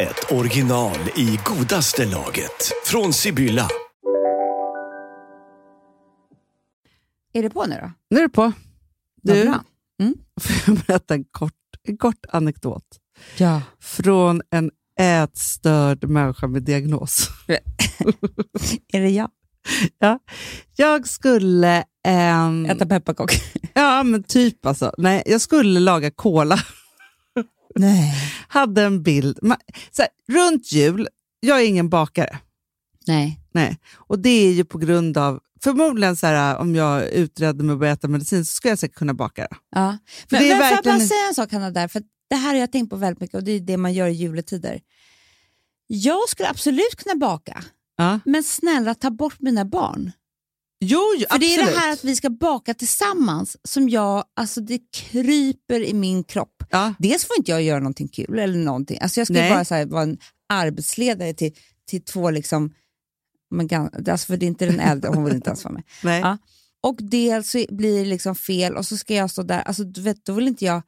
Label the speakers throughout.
Speaker 1: ett original i godaste laget. Från Sibylla.
Speaker 2: Är det på nu då?
Speaker 3: Nu är det på.
Speaker 2: Vad
Speaker 3: Du,
Speaker 2: bra. Mm.
Speaker 3: får jag berätta en kort, en kort anekdot
Speaker 2: Ja.
Speaker 3: från en ätstörd människa med diagnos.
Speaker 2: Är det jag?
Speaker 3: Ja. Jag skulle... ehm,
Speaker 2: Äta pepparkakor?
Speaker 3: ja, men typ alltså. Nej, jag skulle laga cola.
Speaker 2: Nej.
Speaker 3: Hade en bild. Ma- Så här, runt jul, jag är ingen bakare.
Speaker 2: Nej.
Speaker 3: Nej. Och det är ju på grund av... Förmodligen så här, om jag utredde mig och började äta medicin så skulle jag säkert kunna baka det.
Speaker 2: Ja.
Speaker 3: För
Speaker 2: men
Speaker 3: det
Speaker 2: men
Speaker 3: är
Speaker 2: får jag bara
Speaker 3: verkligen-
Speaker 2: säga en sak Hanna, där, för att det här har jag tänkt på väldigt mycket och det är det man gör i juletider. Jag skulle absolut kunna baka,
Speaker 3: Ja.
Speaker 2: men snälla ta bort mina barn.
Speaker 3: Jo, jo
Speaker 2: För
Speaker 3: absolut.
Speaker 2: det är det här att vi ska baka tillsammans som jag, alltså det kryper i min kropp.
Speaker 3: ja.
Speaker 2: Dels får inte jag göra någonting kul eller någonting. Alltså jag skulle
Speaker 3: Nej.
Speaker 2: bara så här, vara en arbetsledare till, till två liksom, men, gan- alltså för det är inte den äldre, hon vill inte ens vara med.
Speaker 3: Nej.
Speaker 2: Ja. Och dels så blir det liksom fel och så ska jag stå där, alltså du vet, då vill inte jag,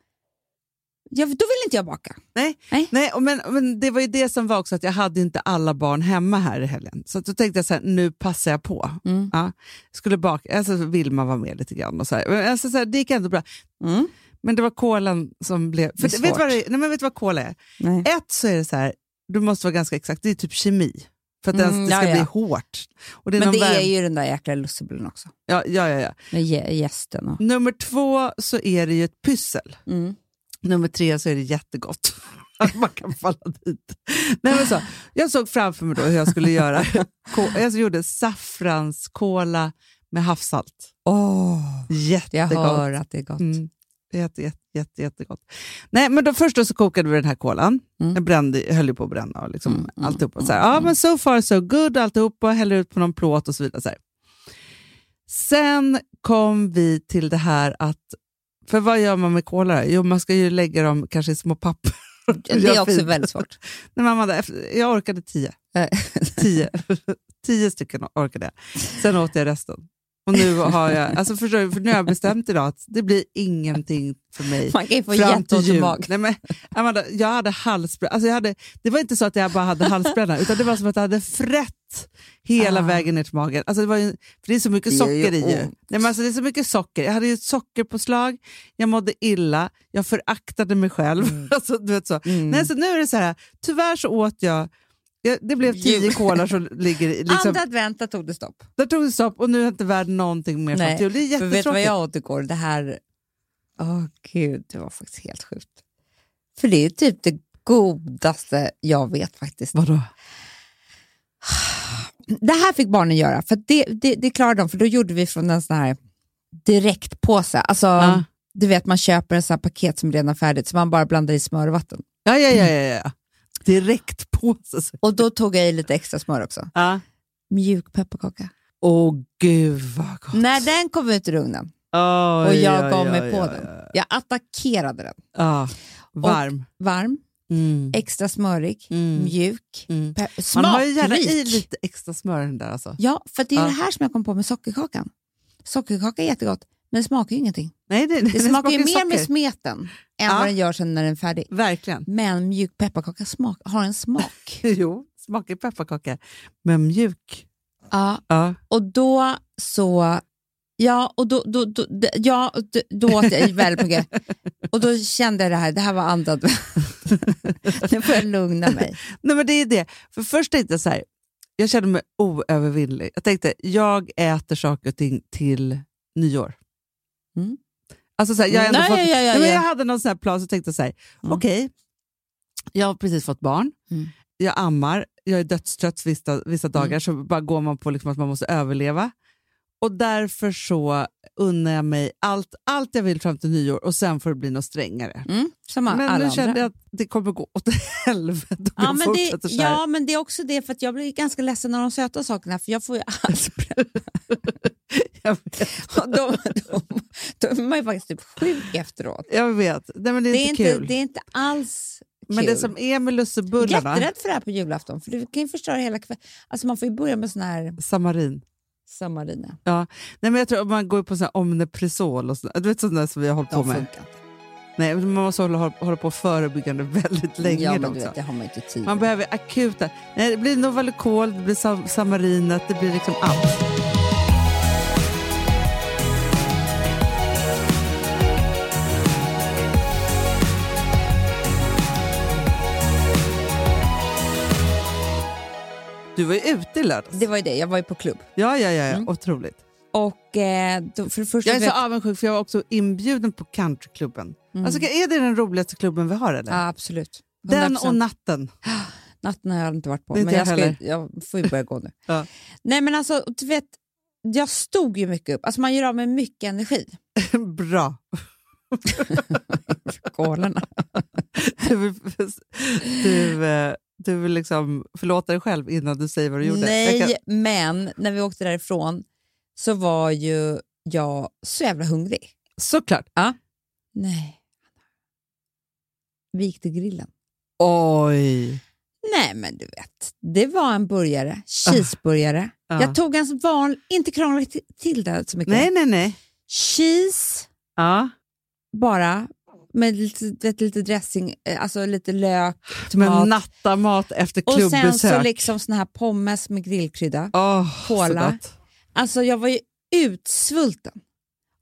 Speaker 2: jag då vill inte jag baka.
Speaker 3: Nej,
Speaker 2: Nej.
Speaker 3: Nej. och men, men det var ju det som var också att jag hade inte alla barn hemma här i helgen. Så att då tänkte jag så här, nu passar jag på.
Speaker 2: Mm.
Speaker 3: Ja, skulle baka, alltså vill man vara med lite grann och så här. Men Alltså så här det gick ändå bra.
Speaker 2: Mm.
Speaker 3: Men det var kolan som blev...
Speaker 2: Det är
Speaker 3: För det vet, du vad
Speaker 2: svårt.
Speaker 3: det, nej, men vet du vad kola är?
Speaker 2: Nej.
Speaker 3: Ett så är det så här, du måste vara ganska exakt, det är typ kemi. För att
Speaker 2: Mm,
Speaker 3: ens, det ska
Speaker 2: ja, ja.
Speaker 3: bli hårt. Och det är
Speaker 2: Men
Speaker 3: någon
Speaker 2: det är
Speaker 3: värme-
Speaker 2: ju den där jäkla lussebullen också,
Speaker 3: ja, ja, ja, ja.
Speaker 2: med gä- gästen och...
Speaker 3: Nummer två så är det ju ett pussel.
Speaker 2: Mm.
Speaker 3: Nummer tre så är det jättegott. Att man kan falla dit. Nej, men så, jag såg framför mig då hur jag skulle göra. Ko- Jag gjorde saffranskola med havssalt.
Speaker 2: Åh, jag
Speaker 3: Jättegott.
Speaker 2: hör att det är gott.
Speaker 3: Mm. Jätte, jätte, jätte, jättegott. Nej, men då först då så kokade vi den här kolan.
Speaker 2: Mm.
Speaker 3: Jag brände, höll ju på att bränna och liksom
Speaker 2: Mm, mm,
Speaker 3: alltihopa. Så här,
Speaker 2: mm,
Speaker 3: ja, men so far so good och alltihopa. Häller ut på någon plåt och så vidare. Så här. Sen kom vi till det här att, för vad gör man med kola? då? Jo, man ska ju lägga dem kanske i små papper.
Speaker 2: Det är
Speaker 3: Jag
Speaker 2: också
Speaker 3: fint.
Speaker 2: väldigt svårt.
Speaker 3: Nej, mamma, där, efter- jag orkade tio. tio. tio stycken orkade jag. Sen åt jag resten. Och nu har jag, alltså förstår du, för nu har jag bestämt idag att det blir ingenting för mig
Speaker 2: Man kan ju få
Speaker 3: fram till
Speaker 2: jätteont i
Speaker 3: jul.
Speaker 2: magen.
Speaker 3: Nej, men, Amanda, jag hade halsbränna. Alltså, jag hade, det var inte så att jag bara hade halsbränna, utan det var som att jag hade frätt hela
Speaker 2: Ah.
Speaker 3: vägen ner till magen. Alltså, det, var ju, för det är så mycket
Speaker 2: Det gör
Speaker 3: socker
Speaker 2: ju
Speaker 3: i. ju. Nej,
Speaker 2: ont.
Speaker 3: men alltså, det är så mycket socker. Jag hade ju ett sockerpåslag, jag mådde illa, jag föraktade mig själv. Alltså, du vet så.
Speaker 2: Mm.
Speaker 3: Nej, så nu är det så här, tyvärr så åt jag jag- det blev tio
Speaker 2: Jul.
Speaker 3: kolar som ligger i- liksom,
Speaker 2: Andra advent, där tog det stopp.
Speaker 3: Där tog det stopp och nu är inte värd någonting mer
Speaker 2: Nej,
Speaker 3: fram till jul. Det är
Speaker 2: För vet du vad
Speaker 3: jättetråkigt.
Speaker 2: jag åt igår? Det här... Åh gud, det var faktiskt helt sjukt. För det är typ det godaste jag vet faktiskt.
Speaker 3: Vadå?
Speaker 2: Det här fick barnen göra, för det, det, det klarade de, för då gjorde vi från en sån här direktpåse. Alltså,
Speaker 3: Ja.
Speaker 2: du vet man köper en sån här paket som redan är färdigt, så man bara blandar i smör och vatten.
Speaker 3: Ja, ja, ja, ja, ja. Direkt på sig.
Speaker 2: Och då tog jag i lite extra smör också.
Speaker 3: Ja.
Speaker 2: Mjuk pepparkaka.
Speaker 3: Åh gud vad gott.
Speaker 2: När den kom ut ur ugnen
Speaker 3: Oj,
Speaker 2: och jag
Speaker 3: oj,
Speaker 2: gav mig
Speaker 3: oj,
Speaker 2: på
Speaker 3: oj, oj.
Speaker 2: den, jag attackerade den.
Speaker 3: Ja, varm.
Speaker 2: Varm,
Speaker 3: Mm.
Speaker 2: extra smörig,
Speaker 3: Mm.
Speaker 2: mjuk,
Speaker 3: Mm.
Speaker 2: pe-
Speaker 3: Man har ju gärna i
Speaker 2: smakrik.
Speaker 3: lite extra smör i den där alltså.
Speaker 2: Ja, för det är
Speaker 3: Ja.
Speaker 2: det här som jag kom på med sockerkakan. Sockerkaka är jättegott, men det smakar ju ingenting.
Speaker 3: Nej, det,
Speaker 2: Det smakar ju mer med
Speaker 3: socker.
Speaker 2: smeten än
Speaker 3: Ja.
Speaker 2: vad den gör sen när den är färdig.
Speaker 3: Verkligen.
Speaker 2: Men mjuk pepparkaka smak, har en smak.
Speaker 3: Jo, smakar ju pepparkaka. Men mjuk.
Speaker 2: ja,
Speaker 3: Ja.
Speaker 2: och då så... Ja, och då, då, då, d- ja, och d- då åt jag ju väldigt mycket. Och då kände jag det här, det här var andra advent. Nu får jag lugna mig.
Speaker 3: Nej, men det är det. För först tänkte jag så här, jag kände mig oövervinnlig. Jag tänkte, jag äter saker och ting till nyår.
Speaker 2: Mm.
Speaker 3: Alltså så här, jag, har ändå
Speaker 2: Nej,
Speaker 3: fått,
Speaker 2: ja, ja, ja,
Speaker 3: Nej, men
Speaker 2: ja.
Speaker 3: jag hade någon sån här plan så tänkte jag så här,
Speaker 2: Mm.
Speaker 3: okej, jag har precis fått barn,
Speaker 2: Mm.
Speaker 3: jag ammar, jag är dödstrött vissa, vissa dagar, så bara går man på liksom att man måste överleva. Och därför så unnar jag mig allt, allt jag vill fram till nyår och sen får det bli något strängare.
Speaker 2: Mm, som alla
Speaker 3: Men nu
Speaker 2: andra.
Speaker 3: kände jag att det kommer gå åt helvete om
Speaker 2: Ja
Speaker 3: jag
Speaker 2: men, det,
Speaker 3: fortsätter så här.
Speaker 2: ja, men det är också det för att jag blir ganska ledsen av de söta sakerna för jag får ju allt
Speaker 3: Jag vet.
Speaker 2: Och de, de, de är man ju faktiskt typ sjuk efteråt.
Speaker 3: Jag vet. Nej, men det är inte kul.
Speaker 2: det är inte alls kul.
Speaker 3: men det som är med
Speaker 2: jag är
Speaker 3: lussebullarna,
Speaker 2: jätterädd för det här på julafton, för du kan ju förstöra hela kvällen. Alltså man får ju börja med sån här
Speaker 3: samarin.
Speaker 2: samarina.
Speaker 3: Nej, men jag tror att man går på sån här omneprisol och sånt. Du vet sånt där som vi har hållit på
Speaker 2: De
Speaker 3: med.
Speaker 2: funkar inte.
Speaker 3: Nej, men man måste hålla, hålla på förebyggande väldigt länge.
Speaker 2: ja,
Speaker 3: då
Speaker 2: men du
Speaker 3: också.
Speaker 2: vet, det har man ju inte tid
Speaker 3: Man
Speaker 2: med.
Speaker 3: behöver akuta... Nej, det blir Novalucol, det blir sam- Samarinet, det blir liksom allt. Du var ju ute i lördags.
Speaker 2: Det var ju det, jag var ju på klubb.
Speaker 3: Ja, ja, ja. ja.
Speaker 2: Mm.
Speaker 3: Otroligt.
Speaker 2: Och eh, då, för det första...
Speaker 3: Jag är så
Speaker 2: vet-
Speaker 3: avundsjuk för jag var också inbjuden på countryklubben.
Speaker 2: Mm.
Speaker 3: Alltså, är det den roligaste klubben vi har? Eller?
Speaker 2: ja, absolut.
Speaker 3: den
Speaker 2: 100%.
Speaker 3: och natten.
Speaker 2: Natten har jag inte varit på,
Speaker 3: Inte
Speaker 2: men
Speaker 3: jag
Speaker 2: jag, ska, ju-
Speaker 3: heller.
Speaker 2: jag får ju börja gå nu.
Speaker 3: Ja.
Speaker 2: Nej men alltså, du vet, jag stod ju mycket upp. Alltså man gör av med mycket energi.
Speaker 3: Bra.
Speaker 2: Galorna.
Speaker 3: Du, vill- du, eh, du vill liksom förlåta dig själv innan du säger vad du gjorde.
Speaker 2: Nej,
Speaker 3: Jag kan-
Speaker 2: men när vi åkte därifrån så var ju jag så jävla hungrig.
Speaker 3: Såklart.
Speaker 2: Nej. Vi gick till grillen.
Speaker 3: Oj.
Speaker 2: Nej, men du vet. Det var en burgare,
Speaker 3: Ah.
Speaker 2: cheeseburgare.
Speaker 3: Ja.
Speaker 2: Jag tog en vanlig, inte krångla till- till det så mycket.
Speaker 3: Ah. Nej, nej, nej.
Speaker 2: Cheese
Speaker 3: Ja.
Speaker 2: bara, med lite, du vet, lite dressing, eh, alltså lite lök,
Speaker 3: Men
Speaker 2: tomat.
Speaker 3: nattamat efter
Speaker 2: Och sen
Speaker 3: klubbesök.
Speaker 2: så liksom sån här pommes med grillkrydda.
Speaker 3: Åh, så
Speaker 2: Cola.
Speaker 3: gott.
Speaker 2: Alltså jag var ju utsvulten.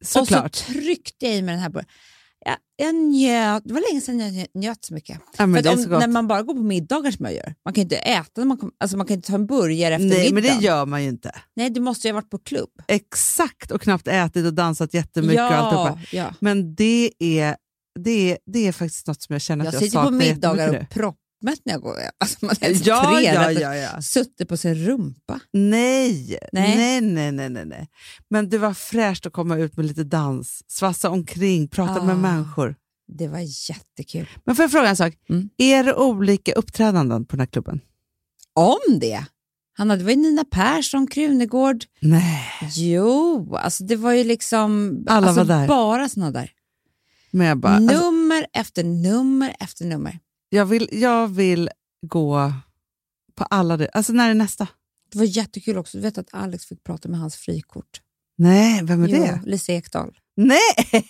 Speaker 2: Och
Speaker 3: Såklart.
Speaker 2: så tryckte jag i mig den här burgaren. Jag, jag njöt, det var länge sedan jag njöt, njöt så mycket.
Speaker 3: ja, men
Speaker 2: För
Speaker 3: det
Speaker 2: att
Speaker 3: är så
Speaker 2: om,
Speaker 3: gott.
Speaker 2: när man bara går på middagar som jag gör, man kan ju inte äta, när man, kom, alltså man kan ju inte ta en burgare efter
Speaker 3: Nej,
Speaker 2: middagen.
Speaker 3: men det gör man ju inte.
Speaker 2: Nej, du måste ju ha varit på klubb.
Speaker 3: Exakt, och knappt ätit och dansat jättemycket. Och
Speaker 2: ja,
Speaker 3: alltihopa.
Speaker 2: ja.
Speaker 3: Men det är, det, är, det är faktiskt något som jag känner
Speaker 2: Jag
Speaker 3: att jag
Speaker 2: sitter på
Speaker 3: saknar
Speaker 2: middagar
Speaker 3: jättemycket
Speaker 2: och proppmätt när jag går. Alltså man är
Speaker 3: nu.
Speaker 2: så
Speaker 3: Ja,
Speaker 2: tre
Speaker 3: ja,
Speaker 2: rätter.
Speaker 3: ja, ja.
Speaker 2: Suttit på sin rumpa.
Speaker 3: Nej.
Speaker 2: Nej.
Speaker 3: Nej. nej, nej, nej, nej. Men det var fräscht att komma ut med lite dans, svassa omkring, prata
Speaker 2: Ah.
Speaker 3: med människor.
Speaker 2: Det var jättekul.
Speaker 3: Men får jag fråga en sak?
Speaker 2: Mm.
Speaker 3: Är det olika uppträdanden på den här klubben?
Speaker 2: Om det! Hanna, det var ju Nina Persson, Krunegård.
Speaker 3: Nej.
Speaker 2: Jo, alltså det var ju liksom
Speaker 3: Alla
Speaker 2: alltså
Speaker 3: var där.
Speaker 2: bara såna där.
Speaker 3: Men jag bara, alltså,
Speaker 2: nummer efter nummer efter nummer.
Speaker 3: jag, vill, jag vill gå på alla det. Alltså när är nästa?
Speaker 2: Det var jättekul också. Du vet att Alex fick prata med hans frikort.
Speaker 3: Nej, vem är
Speaker 2: Jo,
Speaker 3: det?
Speaker 2: Lisa Ekdahl.
Speaker 3: Nej!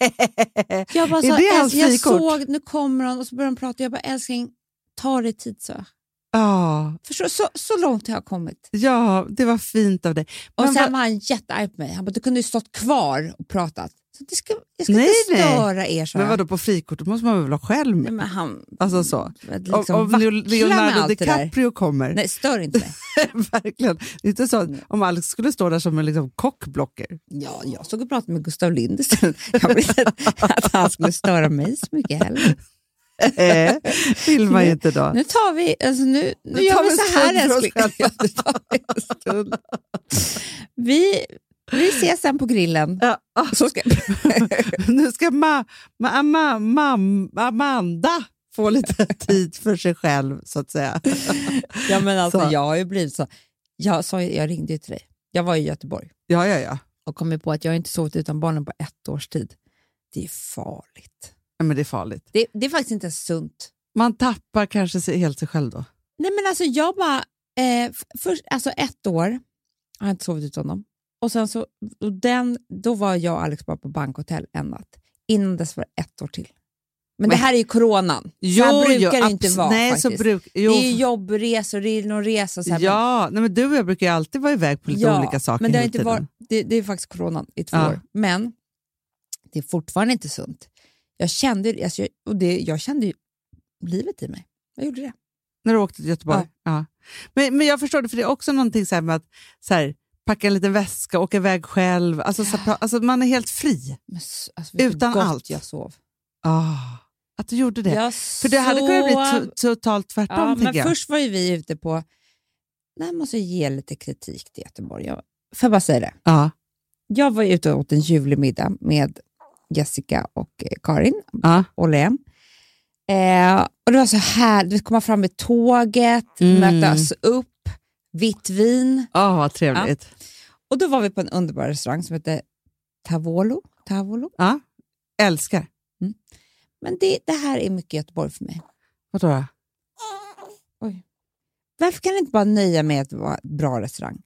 Speaker 2: Jag bara
Speaker 3: Är
Speaker 2: sa,
Speaker 3: det hans
Speaker 2: "Älsk- jag
Speaker 3: frikort?"
Speaker 2: såg, nu kommer hon och så började hon prata. Jag bara, älskling, ta dig tid så.
Speaker 3: Ja,
Speaker 2: Förstår, du? så, så långt har jag kommit.
Speaker 3: ja, det var fint av dig.
Speaker 2: Och
Speaker 3: Men
Speaker 2: sen
Speaker 3: vad-
Speaker 2: var han jättearg på mig. Han bara, du kunde ju stått kvar och pratat. Så det ska, jag ska
Speaker 3: Nej,
Speaker 2: inte
Speaker 3: nej.
Speaker 2: störa er, så
Speaker 3: men vadå, på frikortet måste man väl ha själv?
Speaker 2: Nej, men han
Speaker 3: Alltså så.
Speaker 2: liksom
Speaker 3: om, om
Speaker 2: vacklar med
Speaker 3: Leonardo
Speaker 2: allt det där.
Speaker 3: DiCaprio kommer.
Speaker 2: Nej, stör inte mig.
Speaker 3: Verkligen. Det är inte så att
Speaker 2: Mm.
Speaker 3: om Alex skulle stå där som en liksom kockblocker.
Speaker 2: Ja, jag stod och pratade med Gustav Lind istället. Jag ville inte att han skulle störa mig så mycket heller.
Speaker 3: Eh, vill man ju inte då.
Speaker 2: Nu tar vi, alltså nu, nu
Speaker 3: tar
Speaker 2: gör
Speaker 3: vi
Speaker 2: vi
Speaker 3: en
Speaker 2: så här
Speaker 3: stund för oss
Speaker 2: älskling. Ja, nu tar vi en stund. Vi, vi ses sen på grillen.
Speaker 3: Ja, ah,
Speaker 2: Så ska
Speaker 3: nu ska ma, ma, ma, ma, Amanda få lite tid för sig själv, så att säga.
Speaker 2: ja, men alltså,
Speaker 3: Så.
Speaker 2: jag har ju blivit så. Jag, sa, ju- jag ringde ju till dig. Jag var i Göteborg
Speaker 3: Ja, ja, ja.
Speaker 2: och kom ju på att jag inte sovit utan barnen på ett års tid. Det är farligt.
Speaker 3: Nej, men det är farligt.
Speaker 2: Det, det är faktiskt inte ens sunt.
Speaker 3: Man tappar kanske sig, helt sig själv då.
Speaker 2: Nej men alltså jag bara, eh, f- först, alltså ett år har jag inte sovit utan dem. Och sen så, och den, då var jag och Alex bara på bankhotell en natt. Innan dess var det ett år till. Men, det
Speaker 3: Men-
Speaker 2: här är ju coronan. Så här brukar det ju inte
Speaker 3: abs-
Speaker 2: vara
Speaker 3: nej,
Speaker 2: faktiskt.
Speaker 3: Så bruk, jo,
Speaker 2: Det är ju jobbresor, det är någon resa. Så här,
Speaker 3: ja, nej, men du och jag brukar ju alltid vara iväg på lite
Speaker 2: Ja,
Speaker 3: olika saker
Speaker 2: men det, har
Speaker 3: hela
Speaker 2: inte
Speaker 3: tiden.
Speaker 2: varit, det, det är faktiskt coronan i två
Speaker 3: Ja.
Speaker 2: år. Men det är fortfarande inte sunt. Jag kände, alltså, jag, och det, jag kände ju livet i mig. Jag gjorde det.
Speaker 3: När du åkte till Göteborg? Ja. Men, men jag förstår det, för det är också någonting så här med att så här, packa en liten väska, åka iväg själv. Alltså, så här, alltså man är helt fri.
Speaker 2: Men, s- alltså, vilket
Speaker 3: Utan
Speaker 2: gott
Speaker 3: allt.
Speaker 2: jag sov.
Speaker 3: Ah, att du gjorde det.
Speaker 2: Jag
Speaker 3: för det hade kunnat bli
Speaker 2: sov-
Speaker 3: to- totalt tvärtom,
Speaker 2: Ja, men
Speaker 3: tänker jag.
Speaker 2: först var ju vi ute på... Nej, jag måste ge lite kritik till Göteborg. Jag, får jag bara säga det?
Speaker 3: Ja.
Speaker 2: jag var ju ute och åt en ljuvlig middag med Jessica och eh, Karin
Speaker 3: Ja.
Speaker 2: Åhlén. Eh, och det var så här, du vet, komma fram med tåget,
Speaker 3: Mm.
Speaker 2: mötas upp, vitt vin.
Speaker 3: Ah, vad trevligt.
Speaker 2: Och då var vi på en underbar restaurang som hette Tavolo. Tavolo.
Speaker 3: Älskar.
Speaker 2: Men det, det här är mycket Göteborg för mig.
Speaker 3: Vadå då?
Speaker 2: Varför kan jag inte bara nöja mig med att vara en bra restaurang?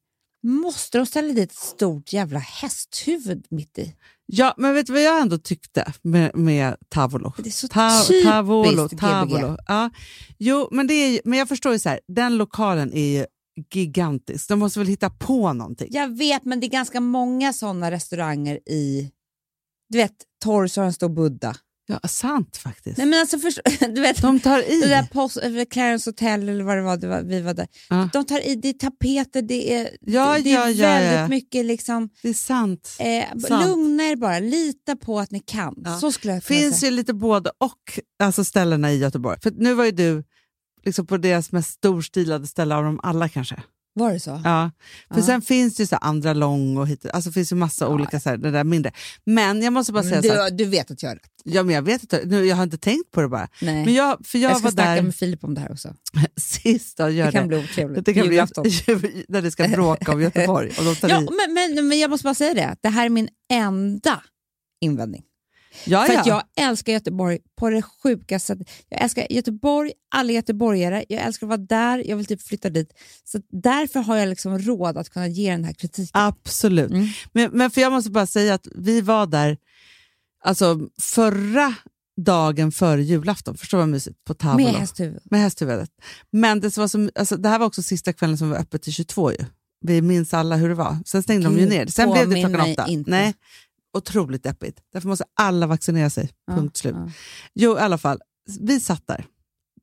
Speaker 2: Måste de ställa dit ett stort jävla hästhuvud mitt i?
Speaker 3: Ja, men vet du vad jag ändå tyckte med, med Tavolo?
Speaker 2: Det är så
Speaker 3: Ta,
Speaker 2: typiskt
Speaker 3: tavolo,
Speaker 2: GBG.
Speaker 3: tavolo. Ja. Jo, men, det är, ju- men jag förstår ju så här, den lokalen är ju gigantisk. De måste väl hitta på någonting?
Speaker 2: Jag vet, men det är ganska många sådana restauranger i... Du vet, Torgs har en stor Buddha.
Speaker 3: Ja, sant faktiskt.
Speaker 2: Nej, men alltså, först, du vet,
Speaker 3: De tar
Speaker 2: det där
Speaker 3: i.
Speaker 2: post, eller Clarence Hotel eller vad det var, det var vi var där.
Speaker 3: Ja.
Speaker 2: De tar i, det är tapeter, det är,
Speaker 3: Ja,
Speaker 2: det, det
Speaker 3: ja,
Speaker 2: är
Speaker 3: ja,
Speaker 2: väldigt
Speaker 3: ja.
Speaker 2: mycket liksom...
Speaker 3: Det är sant.
Speaker 2: Eh, b-
Speaker 3: Sant.
Speaker 2: lugna er bara, lita på att ni kan.
Speaker 3: Ja.
Speaker 2: Så skulle jag kunna
Speaker 3: finns
Speaker 2: säga.
Speaker 3: ju lite både och alltså ställena i Göteborg. För att nu var ju du liksom på deras mest storstilade ställe av dem alla kanske.
Speaker 2: Var det så?
Speaker 3: Ja. För
Speaker 2: Ja.
Speaker 3: sen finns det ju så här andra lång och hit, alltså finns ju massa olika så här, det där mindre. Men jag måste bara säga
Speaker 2: Men
Speaker 3: så här,
Speaker 2: du, du vet att jag har rätt.
Speaker 3: ja, men jag vet inte, nu, jag har inte tänkt på det bara.
Speaker 2: Nej.
Speaker 3: Men jag, för jag,
Speaker 2: jag, ska
Speaker 3: var
Speaker 2: snacka
Speaker 3: där
Speaker 2: med Filip om det här också.
Speaker 3: sist och gör
Speaker 2: Det
Speaker 3: det.
Speaker 2: kan bli otrevligt.
Speaker 3: det kan bli
Speaker 2: Julafton.
Speaker 3: när det ska bråka om Göteborg och de tar
Speaker 2: Ja,
Speaker 3: i.
Speaker 2: men, men, men jag måste bara säga det, det här är min enda invändning.
Speaker 3: Ja,
Speaker 2: För att
Speaker 3: ja.
Speaker 2: jag älskar Göteborg på det sjukaste sättet. Jag älskar Göteborg, alla göteborgare, jag älskar att vara där, jag vill typ flytta dit. Så att därför har jag liksom råd att kunna ge den här kritiken.
Speaker 3: Ah, Absolut.
Speaker 2: Mm.
Speaker 3: Men, men för jag måste bara säga att vi var där alltså förra dagen före julafton, förstår du vad mysigt, på Tavolo.
Speaker 2: med
Speaker 3: Med,
Speaker 2: hästhuvud.
Speaker 3: hästhuvudet. Men det, som var som, alltså, det här var också sista kvällen som var öppet till 22 ju. Vi minns alla hur det var. Sen stängde de ju
Speaker 2: Gud,
Speaker 3: ner. Sen blev det
Speaker 2: påminn
Speaker 3: klockan
Speaker 2: mig
Speaker 3: åtta.
Speaker 2: inte.
Speaker 3: Nej, otroligt deppigt. Därför måste alla vaccinera sig.
Speaker 2: Ja,
Speaker 3: Punkt slut.
Speaker 2: ja.
Speaker 3: Jo, i alla fall. Vi satt där.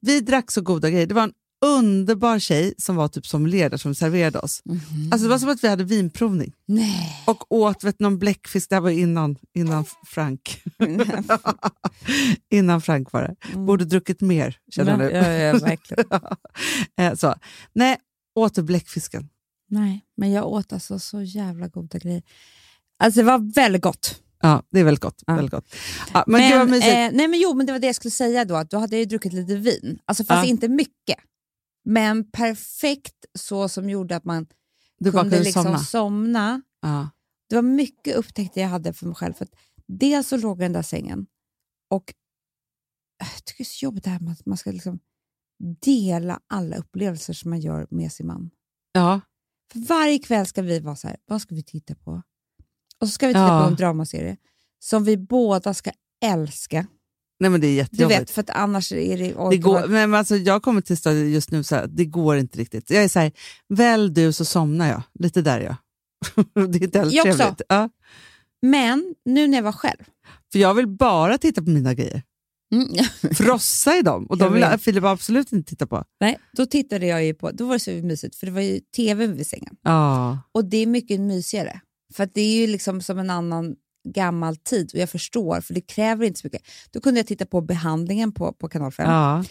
Speaker 3: Vi drack så goda grejer. Det var en underbar tjej som var typ som ledare som serverade oss.
Speaker 2: Mhm.
Speaker 3: Alltså, det var som att vi hade vinprovning.
Speaker 2: Nej.
Speaker 3: Och åt vet, någon bläckfisk, det här var innan, innan Frank. innan Frank var det. Borde druckit mer, känner
Speaker 2: Mm. Ja,
Speaker 3: du.
Speaker 2: ja, ja, verkligen.
Speaker 3: Eh, så. Nej, åt du bläckfisken.
Speaker 2: Nej, men jag åt alltså så jävla goda grejer. Alltså det var väldigt gott.
Speaker 3: Ja, det är väldigt gott.
Speaker 2: Ja.
Speaker 3: Väldigt gott. Ja, men, gud vad mysigt.
Speaker 2: eh, nej, men jo, men det var det jag skulle säga då, att då hade jag ju druckit lite vin. Alltså fast
Speaker 3: Ja.
Speaker 2: inte mycket. Men perfekt så som gjorde att man
Speaker 3: du bara
Speaker 2: kunde
Speaker 3: kunde
Speaker 2: liksom
Speaker 3: somna.
Speaker 2: somna.
Speaker 3: Ja.
Speaker 2: Det var mycket upptäckter jag hade för mig själv. För att dels så låg jag i den där sängen och äh, jag tycker det är så jobbigt det här med att man ska liksom dela alla upplevelser som man gör med sin man.
Speaker 3: ja,
Speaker 2: För varje kväll ska vi vara så här, vad ska vi titta på? Och så ska vi titta
Speaker 3: Ja.
Speaker 2: på en dramaserie som vi båda ska älska.
Speaker 3: nej men det är
Speaker 2: Du
Speaker 3: jättejobbigt.
Speaker 2: vet, för att annars är det...
Speaker 3: det går, nej, men alltså, jag kommer till stadiet just nu, så här, det går inte riktigt. Jag är så här, väl du så somnar jag. Lite där är jag. det är inte heller
Speaker 2: Jag också.
Speaker 3: trevligt. Ja.
Speaker 2: Men nu när jag var själv,
Speaker 3: För jag vill bara titta på mina grejer. Mm, frossa i dem. Och
Speaker 2: Jag
Speaker 3: de vill
Speaker 2: vet.
Speaker 3: Filip absolut inte titta på.
Speaker 2: nej, då tittade jag ju på, då var det så mysigt för det var ju tv vid sängen.
Speaker 3: Ja.
Speaker 2: Och det är mycket mysigare. För att det är ju liksom som en annan gammal tid och jag förstår för det kräver inte så mycket. Då kunde jag titta på behandlingen på, på kanal 5
Speaker 3: Ja.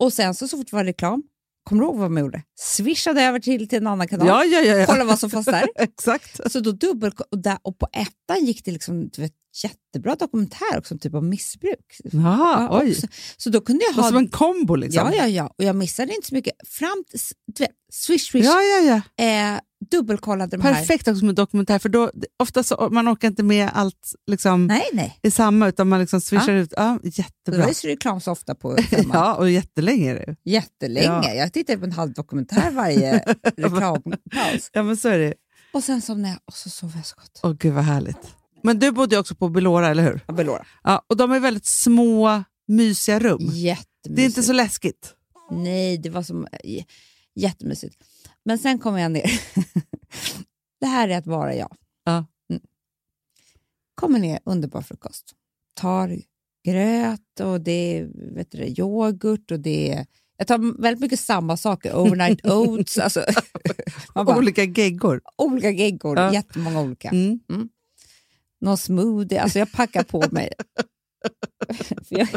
Speaker 2: och sen så, så fort det var reklam, kommer du ihåg vad man gjorde? Swishade över till, till en annan kanal,
Speaker 3: Ja, ja, ja, ja.
Speaker 2: kolla vad som fanns där.
Speaker 3: Exakt.
Speaker 2: Så då dubbel och, där, och på ettan gick det liksom, du vet, jättebra dokumentär också, typ om missbruk.
Speaker 3: Mm. Jaha,
Speaker 2: Ja,
Speaker 3: oj.
Speaker 2: också. Så då kunde jag
Speaker 3: Det var
Speaker 2: ha...
Speaker 3: som en kombo liksom.
Speaker 2: Ja, ja, ja. Och jag missade inte så mycket. Fram till, du vet, swish, swish,
Speaker 3: ja, ja, ja.
Speaker 2: eh, dubbelkollade de här.
Speaker 3: Perfekt också med dokumentär, för då, ofta så, man orkar inte med allt liksom,
Speaker 2: Nej, nej.
Speaker 3: i samma, utan man liksom swishar ut. Ja,
Speaker 2: Det var
Speaker 3: jättebra.
Speaker 2: ju så reklam så ofta på femman.
Speaker 3: Ja, och jättelänge är det ju.
Speaker 2: Jättelänge.
Speaker 3: Ja.
Speaker 2: Jag tittade på en halv dokumentär varje reklampaus.
Speaker 3: Ja, men så är det.
Speaker 2: Och sen somnade jag och så sov jag så gott.
Speaker 3: Åh, gud vad härligt. Men du bodde ju också på Belora, eller hur?
Speaker 2: Abelora.
Speaker 3: Ja, och de är väldigt små, mysiga rum.
Speaker 2: Jättemysigt.
Speaker 3: Det är inte så läskigt.
Speaker 2: Nej, det var som eh, j- jättemysigt. Men sen kommer jag ner. det här är att vara jag.
Speaker 3: Ja.
Speaker 2: Mm. Kommer ner, underbar frukost. Tar gröt och det är vet du, det, yoghurt och det är... Jag tar väldigt mycket samma saker. Overnight oats, alltså, man bara,
Speaker 3: Olika geggor.
Speaker 2: olika geggor,
Speaker 3: Ja.
Speaker 2: jättemånga olika.
Speaker 3: Mm.
Speaker 2: Någon smoothie, alltså jag packar på mig. För jag, Men jag-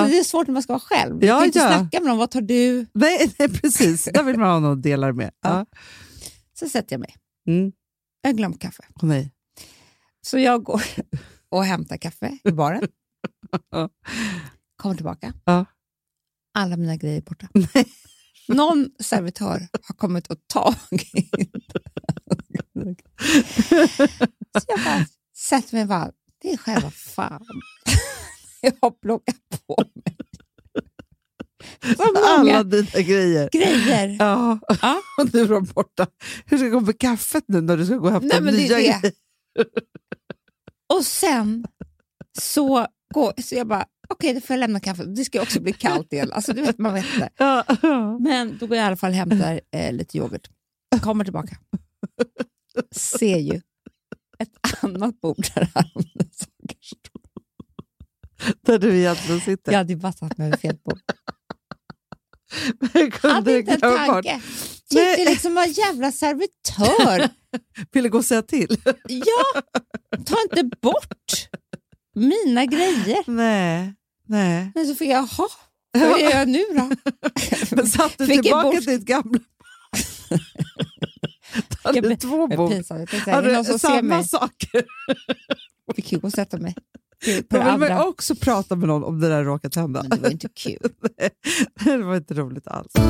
Speaker 3: Ja.
Speaker 2: Det är svårt när man ska vara själv.
Speaker 3: Ja,
Speaker 2: jag kan inte
Speaker 3: ja.
Speaker 2: snacka med någon, vad tar du?
Speaker 3: Nej, nej, precis. Där vill man ha någon att dela med. Ja.
Speaker 2: Så sätter jag mig.
Speaker 3: Mm.
Speaker 2: Jag har glömt kaffe.
Speaker 3: Åh nej.
Speaker 2: Så jag går och hämtar kaffe i baren. Kommer tillbaka.
Speaker 3: Ja.
Speaker 2: Alla mina grejer är borta. Någon servitör har kommit och tagit. Så jag bara sätter mig och bara, det är själva fan. Jag har plockat på mig så många
Speaker 3: Alla dina grejer.
Speaker 2: grejer.
Speaker 3: Ja,
Speaker 2: Ja.
Speaker 3: och nu är de borta. Hur ska det gå med kaffet nu när du ska gå och hämta
Speaker 2: Nej, men det är
Speaker 3: nya
Speaker 2: det.
Speaker 3: grejer?
Speaker 2: Och sen så, går, så jag bara, okej, då får jag lämna kaffet. Det ska ju också bli kallt igen. Alltså, du vet, man vet inte.
Speaker 3: Ja, ja.
Speaker 2: Men då går jag i alla fall och hämtar eh, lite yoghurt. Kommer tillbaka. Ser ju ett annat bord där andra saker står.
Speaker 3: Där du egentligen sitter.
Speaker 2: Jag hade ju bara satt mig vid fel bord.
Speaker 3: Jag kunde
Speaker 2: Hade inte en
Speaker 3: glömma bort.
Speaker 2: tanke.
Speaker 3: Nej.
Speaker 2: Tyckte liksom var en jävla servitör.
Speaker 3: Ville gå och säga till.
Speaker 2: Ja, ta inte bort mina grejer.
Speaker 3: Nej. Nej.
Speaker 2: Men så fick jag, jaha, vad gör jag nu då?
Speaker 3: Men satt du
Speaker 2: Fick en
Speaker 3: tillbaka
Speaker 2: bok-
Speaker 3: ditt gamla... Då hade
Speaker 2: Jag
Speaker 3: du
Speaker 2: blir-
Speaker 3: två
Speaker 2: Det är
Speaker 3: bord.
Speaker 2: pinsamt. Jag tänkte, så här, är det
Speaker 3: Hade
Speaker 2: någon
Speaker 3: du
Speaker 2: som ser
Speaker 3: samma
Speaker 2: mig?
Speaker 3: saker?
Speaker 2: Fick ju gå och sätta mig. Gud, På
Speaker 3: Då
Speaker 2: det
Speaker 3: vill man ju
Speaker 2: andra. Mm.
Speaker 3: också prata med någon om det där råkat hända.
Speaker 2: Men det var ju inte kul.
Speaker 3: det var inte roligt alls.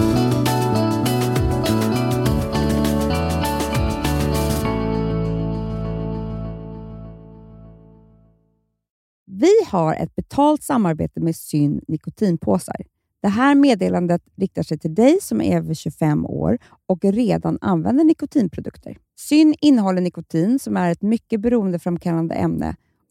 Speaker 2: Vi har ett betalt samarbete med Syn nikotinpåsar. Det här meddelandet riktar sig till dig som är över 25 år och redan använder nikotinprodukter. Syn innehåller nikotin som är ett mycket beroendeframkallande ämne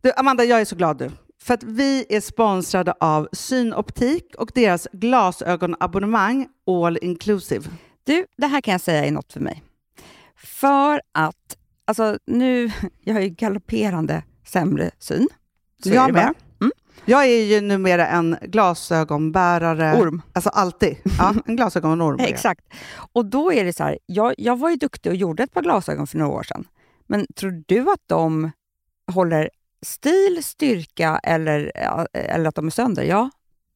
Speaker 3: Du, Amanda, jag är så glad du. För att vi är sponsrade av Synoptik och deras glasögonabonnemang All Inclusive.
Speaker 4: Du, det här kan jag säga är något för mig. För att, alltså nu, jag har ju galopperande sämre syn. Så är det Mm.
Speaker 3: jag
Speaker 4: bara.
Speaker 3: med. Jag är ju numera en glasögonbärare.
Speaker 4: Orm.
Speaker 3: Alltså alltid. Ja, en glasögonorm. är jag.
Speaker 4: Exakt. Och då är det så här, jag, jag var ju duktig och gjorde ett par glasögon för några år sedan. Men tror du att de håller stil, styrka eller, eller att de är sönder? Ja.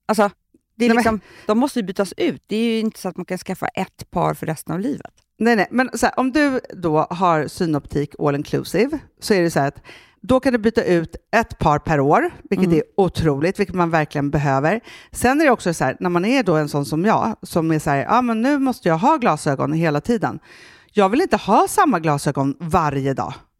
Speaker 4: Alltså, det är
Speaker 3: Nej, men-
Speaker 4: liksom, de måste ju bytas ut. Det är ju inte så att man kan skaffa ett par för resten av livet.
Speaker 3: Nej, nej. Men så här, om du då har synoptik all inclusive så är det så här att då kan du byta ut ett par per år, vilket är otroligt, vilket man verkligen behöver. Sen är det också så här, när man är då en sån som jag, som är så här, ja men nu måste jag ha glasögon hela tiden. Jag vill inte ha samma glasögon varje dag.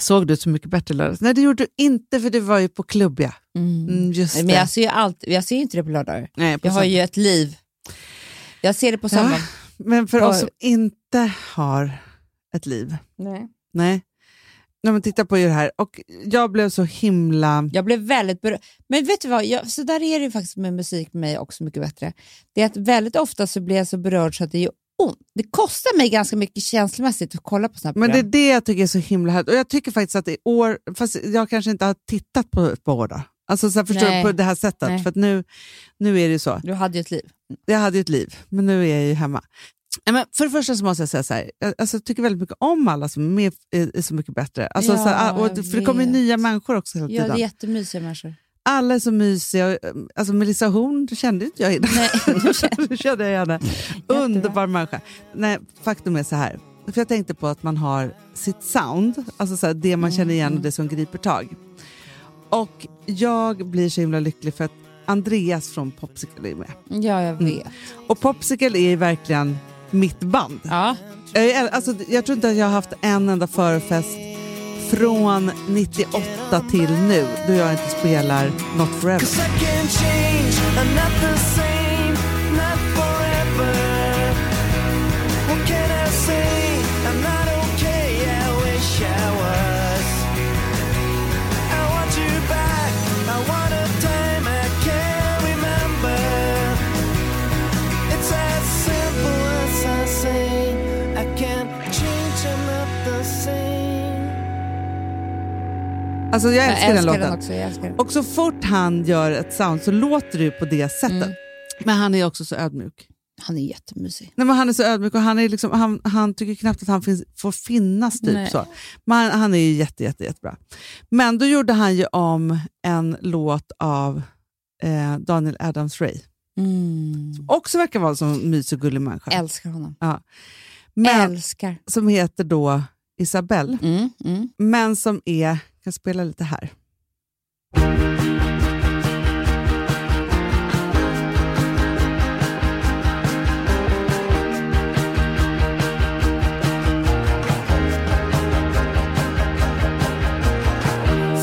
Speaker 3: Såg du Så mycket bättre lördags? Nej, det gjorde du inte, för du var ju på klubb. Ja. Mm, just
Speaker 2: Nej,
Speaker 3: det.
Speaker 2: Men jag ser ju allt, jag ser ju inte det på lördagar.
Speaker 3: Nej, på
Speaker 2: Jag har
Speaker 3: söndag.
Speaker 2: ju ett liv. Jag ser det på
Speaker 3: Ja.
Speaker 2: söndag.
Speaker 3: Men för
Speaker 2: Har-
Speaker 3: oss som inte har ett liv.
Speaker 2: Nej.
Speaker 3: Nej. Nej, men titta på er här. Och jag blev så himla...
Speaker 2: Jag blev väldigt berörd. Men vet du vad, jag, så där är det ju faktiskt med musik med mig också mycket bättre. Det är att väldigt ofta så blir jag så berörd så att det gör ont. Det kostar mig ganska mycket känslomässigt att kolla på sådana här
Speaker 3: Men det är
Speaker 2: program.
Speaker 3: det jag tycker är så himla härligt. Och jag tycker faktiskt att i år, fast jag kanske inte har tittat på ett par år då. Alltså så här, förstår
Speaker 2: Nej.
Speaker 3: du, på det här sättet.
Speaker 2: Nej.
Speaker 3: För att nu, nu är det ju så.
Speaker 2: Du hade ju ett liv.
Speaker 3: Jag hade ju ett liv, men nu är jag ju hemma. Nej, Men för det första så måste jag säga så här, jag alltså, jag tycker väldigt mycket om alla som är, med, är, är Så mycket bättre. Alltså,
Speaker 2: Ja,
Speaker 3: så här, ah, och,
Speaker 2: jag
Speaker 3: för det kommer ju
Speaker 2: vet.
Speaker 3: nya människor också hela
Speaker 2: Ja,
Speaker 3: tiden.
Speaker 2: det är jättemysiga människor.
Speaker 3: Alla är så mysiga. och, eh, Alltså, Melissa Horn det kände inte jag innan.
Speaker 2: Nej,
Speaker 3: Nu kände jag henne. Underbar människa. Nej, faktum är så här. För jag tänkte på att man har sitt sound, alltså så här, det man känner
Speaker 2: Mm.
Speaker 3: igen och det som griper tag. Och jag blir så himla lycklig för att Andreas från Popsicle är med. Mm.
Speaker 2: Ja, jag vet.
Speaker 3: Och Popsicle är ju verkligen mitt band.
Speaker 2: Ja.
Speaker 3: Jag, är- alltså, jag tror inte att jag har haft en enda förfest från 98 till nu då jag inte spelar Not Forever.
Speaker 5: Cause I can change, I'm not the same, not forever. What can I say? I'm not okay, I wish I was. I want you back, I want a time I can't remember. It's as simple as I say, I can't change, I'm not the same.
Speaker 3: Alltså jag
Speaker 2: Jag
Speaker 3: älskar, den
Speaker 2: älskar
Speaker 3: låten.
Speaker 2: den också. Jag älskar den.
Speaker 3: Och så fort han gör ett sound så låter det ju på det sättet. Men han är också så ödmjuk.
Speaker 2: Han är jättemysig.
Speaker 3: Nej, men han är så ödmjuk och han, är liksom, han, han tycker knappt att han finns, får finnas. Typ,
Speaker 2: Nej.
Speaker 3: så. Men han, han är ju jätte, jätte, jättebra. Men då gjorde han ju om en låt av eh, Daniel Adams-Ray.
Speaker 2: Mm.
Speaker 3: Också verkar vara en sån mysig och gullig människa.
Speaker 2: Älskar honom.
Speaker 3: men
Speaker 2: Älskar.
Speaker 3: som heter då Isabelle.
Speaker 2: Mm, mm.
Speaker 3: Men som är, kan spela lite här.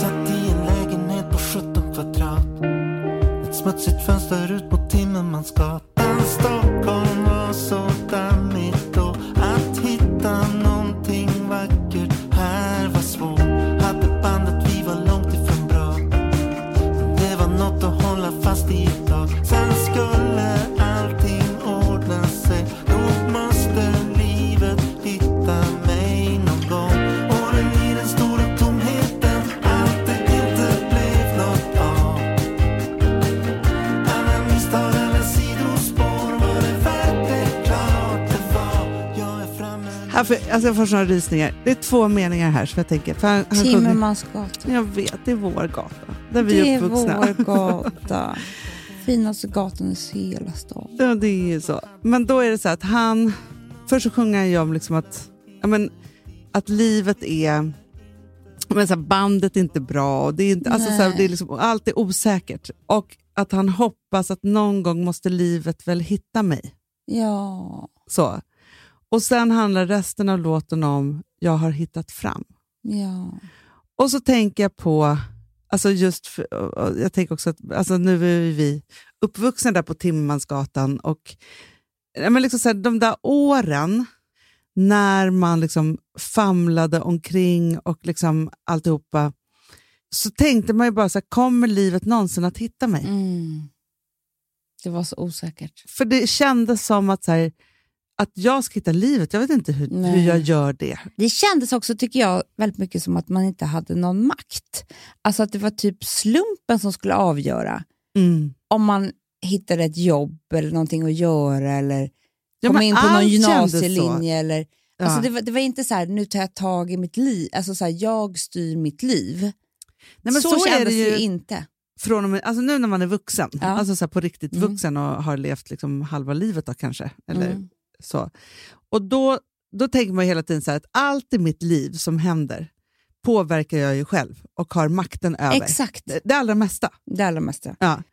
Speaker 5: Satt i en lägenhet på 17 kvadrat Ett smutsigt fönster ut mot timmermansgatan Stockholm var så dammigt då Att hitta någonting vackert här var svårt Hade bandet, vi var långt ifrån bra Men Det var något att hålla fast i ett tag Sen skulle allting ordna sig Nog måste livet hitta mig någon gång Åren i den stora tomheten Allt det inte blev något av Alla misstag, alla sidospår Var det värt det? Klart det var Jag är framme
Speaker 3: här för, alltså jag får såna rysningar. Det är två meningar här som jag tänker. För han, han sjunger-
Speaker 2: Timmermansgatan.
Speaker 3: Jag vet, det är vår gata. Där vi
Speaker 2: Det
Speaker 3: är
Speaker 2: är
Speaker 3: uppvuxna.
Speaker 2: vår gata. Finaste gatan i hela stan.
Speaker 3: Ja, det är ju så. Men då är det så att han... Först så sjunger han ju om liksom att, ja, men, att livet är... Men så här, bandet är inte bra. Och det är inte, alltså, så här,
Speaker 2: Nej.
Speaker 3: det är liksom, allt är osäkert. Och att han hoppas att någon gång måste livet väl hitta mig.
Speaker 2: Ja.
Speaker 3: Så. Och sen handlar resten av låten om Jag har hittat fram.
Speaker 2: Ja.
Speaker 3: Och så tänker jag på, alltså just för, och jag tänker också att alltså nu är ju vi uppvuxna där på Timmermansgatan och ja, men liksom så här, de där åren när man liksom famlade omkring och liksom alltihopa, så tänkte man ju bara så här, kommer livet någonsin att hitta mig?
Speaker 2: Mm. Det var så osäkert.
Speaker 3: För det kändes som att, så här, att jag ska hitta livet, jag vet inte hur,
Speaker 2: Nej.
Speaker 3: hur jag gör det.
Speaker 2: Det kändes också, tycker jag, väldigt mycket som att man inte hade någon makt. Alltså att det var typ slumpen som skulle avgöra
Speaker 3: Mm.
Speaker 2: om man hittade ett jobb eller någonting att göra eller
Speaker 3: Ja,
Speaker 2: kom
Speaker 3: men
Speaker 2: in på någon
Speaker 3: allt kändes så.
Speaker 2: gymnasielinje. Eller,
Speaker 3: Ja.
Speaker 2: alltså det, var, det var inte så här, nu tar jag tag i mitt liv, alltså så här, jag styr mitt liv.
Speaker 3: Nej, men
Speaker 2: så,
Speaker 3: så är
Speaker 2: kändes
Speaker 3: det ju-
Speaker 2: inte.
Speaker 3: från och med, alltså nu när man är vuxen,
Speaker 2: Ja.
Speaker 3: alltså så här på riktigt
Speaker 2: Mm.
Speaker 3: vuxen och har levt liksom halva livet då kanske. Eller
Speaker 2: Mm.
Speaker 3: så. Och då, då tänker man ju hela tiden så här att allt i mitt liv som händer påverkar jag ju själv och har makten över.
Speaker 2: Exakt,
Speaker 3: Det, det allra mesta.
Speaker 2: det allra mesta.
Speaker 3: Ja.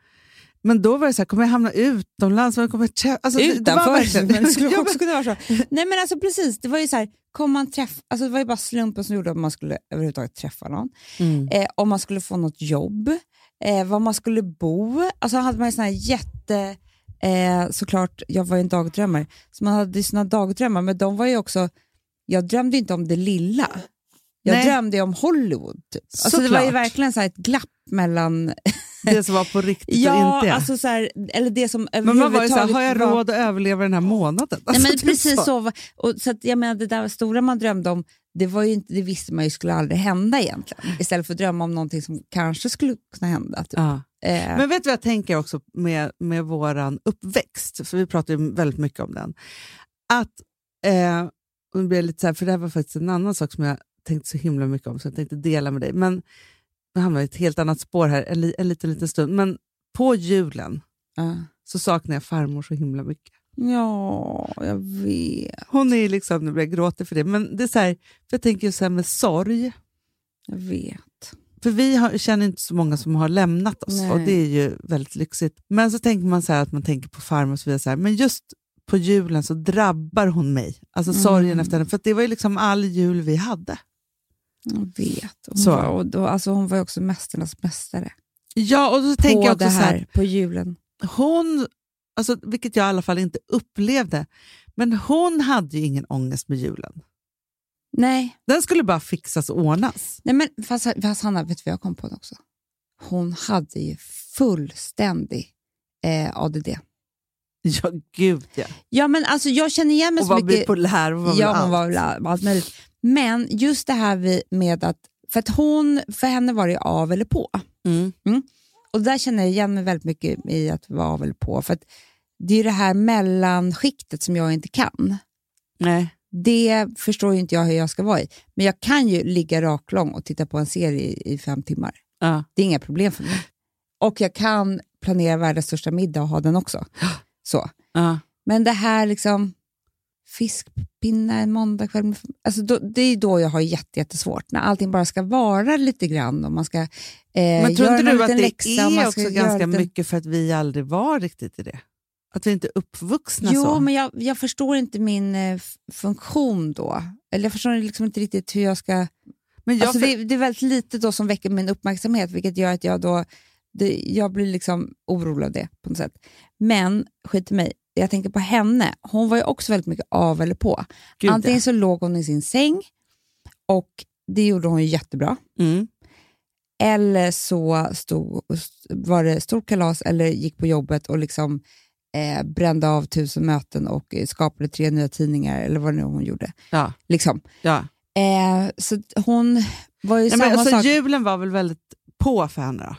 Speaker 3: Men då var det så här, kommer jag hamna utomlands? Vad Kommer jag trä- alltså, det- det var
Speaker 2: Utanför,
Speaker 3: verkligen-
Speaker 2: men det skulle
Speaker 3: Ja,
Speaker 2: också kunna vara så. Nej men alltså precis, det var ju så här, kom man träff, alltså det var ju bara slumpen som gjorde att man skulle överhuvudtaget träffa någon.
Speaker 3: Mm.
Speaker 2: Eh, om man skulle få något jobb, eh, var man skulle bo. Alltså hade man ju såna här jätte... Eh, såklart, jag var ju en dagdrömmare, så man hade ju sina dagdrömmar, men de var ju också... Jag drömde ju inte om det lilla. Jag
Speaker 3: Nej.
Speaker 2: drömde ju om Hollywood. Typ. Alltså, det var ju
Speaker 3: Såklart.
Speaker 2: verkligen så här ett glapp mellan...
Speaker 3: det som var på riktigt och
Speaker 2: Ja,
Speaker 3: inte.
Speaker 2: alltså så här, eller det som
Speaker 3: men man var ju så här,
Speaker 2: överhuvudtaget
Speaker 3: har jag
Speaker 2: var-
Speaker 3: råd att överleva den här månaden?
Speaker 2: Nej,
Speaker 3: Alltså,
Speaker 2: men
Speaker 3: det är
Speaker 2: precis
Speaker 3: så.
Speaker 2: så. var- Och, så att, jag menar, det där stora man drömde om, det, var ju inte, det visste man ju skulle aldrig hända egentligen. Istället för att drömma om någonting som kanske skulle kunna hända. Typ.
Speaker 3: Ja.
Speaker 2: Eh,
Speaker 3: Men vet du vad jag tänker också med, med vår uppväxt? För vi pratar ju väldigt mycket om den. Att, eh, och nu blir jag lite så här, för det här var faktiskt en annan sak som jag tänkt så himla mycket om, så jag tänkte dela med dig. Men nu hamnar vi i ett helt annat spår här en, li- en liten, liten stund. Men på julen
Speaker 2: ja.
Speaker 3: så saknar jag farmor så himla mycket.
Speaker 2: ja, jag vet.
Speaker 3: Hon är liksom, nu blir jag gråta för det, men det är så här, för jag tänker ju så här med sorg.
Speaker 2: Jag vet.
Speaker 3: För vi har, känner inte så många som har lämnat oss
Speaker 2: Nej.
Speaker 3: och det är ju väldigt lyxigt. Men så tänker man så här att man tänker på farmor och så vidare, så här, men just på julen så drabbar hon mig, alltså sorgen efter henne, för att det var ju liksom all jul vi hade.
Speaker 2: Jag vet. Hon,
Speaker 3: Så.
Speaker 2: Var, och då, alltså, hon var ju också mästarnas mästare.
Speaker 3: Ja, och så
Speaker 2: på
Speaker 3: tänker jag också
Speaker 2: det
Speaker 3: så
Speaker 2: här,
Speaker 3: här,
Speaker 2: på julen.
Speaker 3: hon, alltså, vilket jag i alla fall inte upplevde, men hon hade ju ingen ångest med julen.
Speaker 2: Nej,
Speaker 3: Den skulle bara fixas och ordnas.
Speaker 2: Nej men fast, fast Hanna, vet du vad jag kom på nu också? Hon hade ju fullständig eh, ADD.
Speaker 3: Ja, gud ja.
Speaker 2: Ja, men alltså, jag känner igen mig
Speaker 3: Och
Speaker 2: så
Speaker 3: var
Speaker 2: mycket...
Speaker 3: bipolär och var väl
Speaker 2: ja, hon
Speaker 3: allt.
Speaker 2: var väl all- allt möjligt. Men just det här vi- med att, för att hon, för henne var det ju av eller på.
Speaker 3: Mm.
Speaker 2: Och där känner jag igen mig väldigt mycket i att vara av eller på. För att det är ju det här mellanskiktet som jag inte kan.
Speaker 3: Nej.
Speaker 2: Det förstår ju inte jag hur jag ska vara i. Men jag kan ju ligga raklång och titta på en serie i, i fem timmar.
Speaker 3: Ja.
Speaker 2: Det är inga problem för mig. Och jag kan planera världens största middag och ha den också. Så.
Speaker 3: Ja.
Speaker 2: Men det här liksom fiskpinna en måndagkväll, med- alltså då, det är då jag har jätte, jättesvårt. När allting bara ska vara lite grann och man ska eh,
Speaker 3: Men tror
Speaker 2: göra
Speaker 3: inte
Speaker 2: någon
Speaker 3: du att
Speaker 2: liten
Speaker 3: det
Speaker 2: läxa, och
Speaker 3: är
Speaker 2: man
Speaker 3: också
Speaker 2: ska göra
Speaker 3: ganska
Speaker 2: lite-
Speaker 3: mycket för att vi aldrig var riktigt i det? Att vi inte är uppvuxna
Speaker 2: Jo,
Speaker 3: så?
Speaker 2: men jag, jag förstår inte min eh, f- funktion då. Eller jag förstår liksom inte riktigt hur jag ska...
Speaker 3: Men jag
Speaker 2: alltså
Speaker 3: för-
Speaker 2: det, det är väldigt lite då som väcker min uppmärksamhet, vilket gör att jag då det, jag blir liksom orolig av det på något sätt. Men skit i mig, jag tänker på henne. Hon var ju också väldigt mycket av eller på.
Speaker 3: Gud,
Speaker 2: Antingen så låg hon i sin säng och det gjorde hon ju jättebra.
Speaker 3: ja. mm.
Speaker 2: Eller så stod, var det stort kalas eller gick på jobbet och liksom eh, brände av tusen möten och eh, skapade tre nya tidningar eller vad nu hon gjorde.
Speaker 3: ja,
Speaker 2: Liksom.
Speaker 3: ja.
Speaker 2: Eh, så att hon var ju
Speaker 3: Nej,
Speaker 2: samma
Speaker 3: men, alltså,
Speaker 2: sak.
Speaker 3: julen var väl väldigt på för henne då?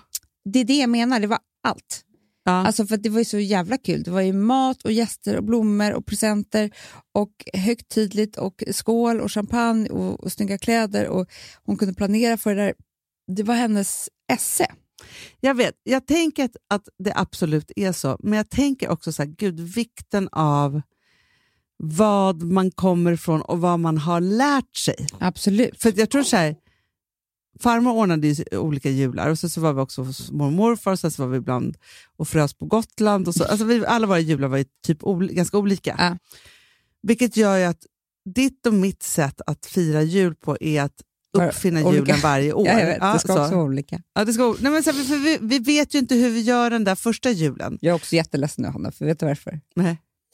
Speaker 2: Det är det jag menar, det var allt.
Speaker 3: Ja.
Speaker 2: Alltså för att det var ju så jävla kul. Det var ju mat och gäster och blommor och presenter och högtidligt och skål och champagne och, och snygga kläder och hon kunde planera för det där. Det var hennes esse.
Speaker 3: jag vet, jag tänker att, att det absolut är så, men jag tänker också så här, gud, vikten av vad man kommer ifrån och vad man har lärt sig.
Speaker 2: Absolut.
Speaker 3: För att jag tror så här, farmor ordnade ju olika jular och sen så var vi också hos mormor och morfar och sen så var vi ibland och frös på Gotland. Och så. Alltså vi, alla våra jular var ju typ ol, ganska olika.
Speaker 2: Ja.
Speaker 3: Vilket gör ju att ditt och mitt sätt att fira jul på är att
Speaker 2: Var-
Speaker 3: uppfinna
Speaker 2: olika.
Speaker 3: julen varje år.
Speaker 2: Ja, jag vet,
Speaker 3: Ja,
Speaker 2: det ska
Speaker 3: så.
Speaker 2: också vara olika.
Speaker 3: Ja, det ska, nej, men så, här, för vi, vi vet ju inte hur vi gör den där första julen.
Speaker 2: Jag är också jätteledsen nu, Hanna, för vet du varför?
Speaker 3: Nej,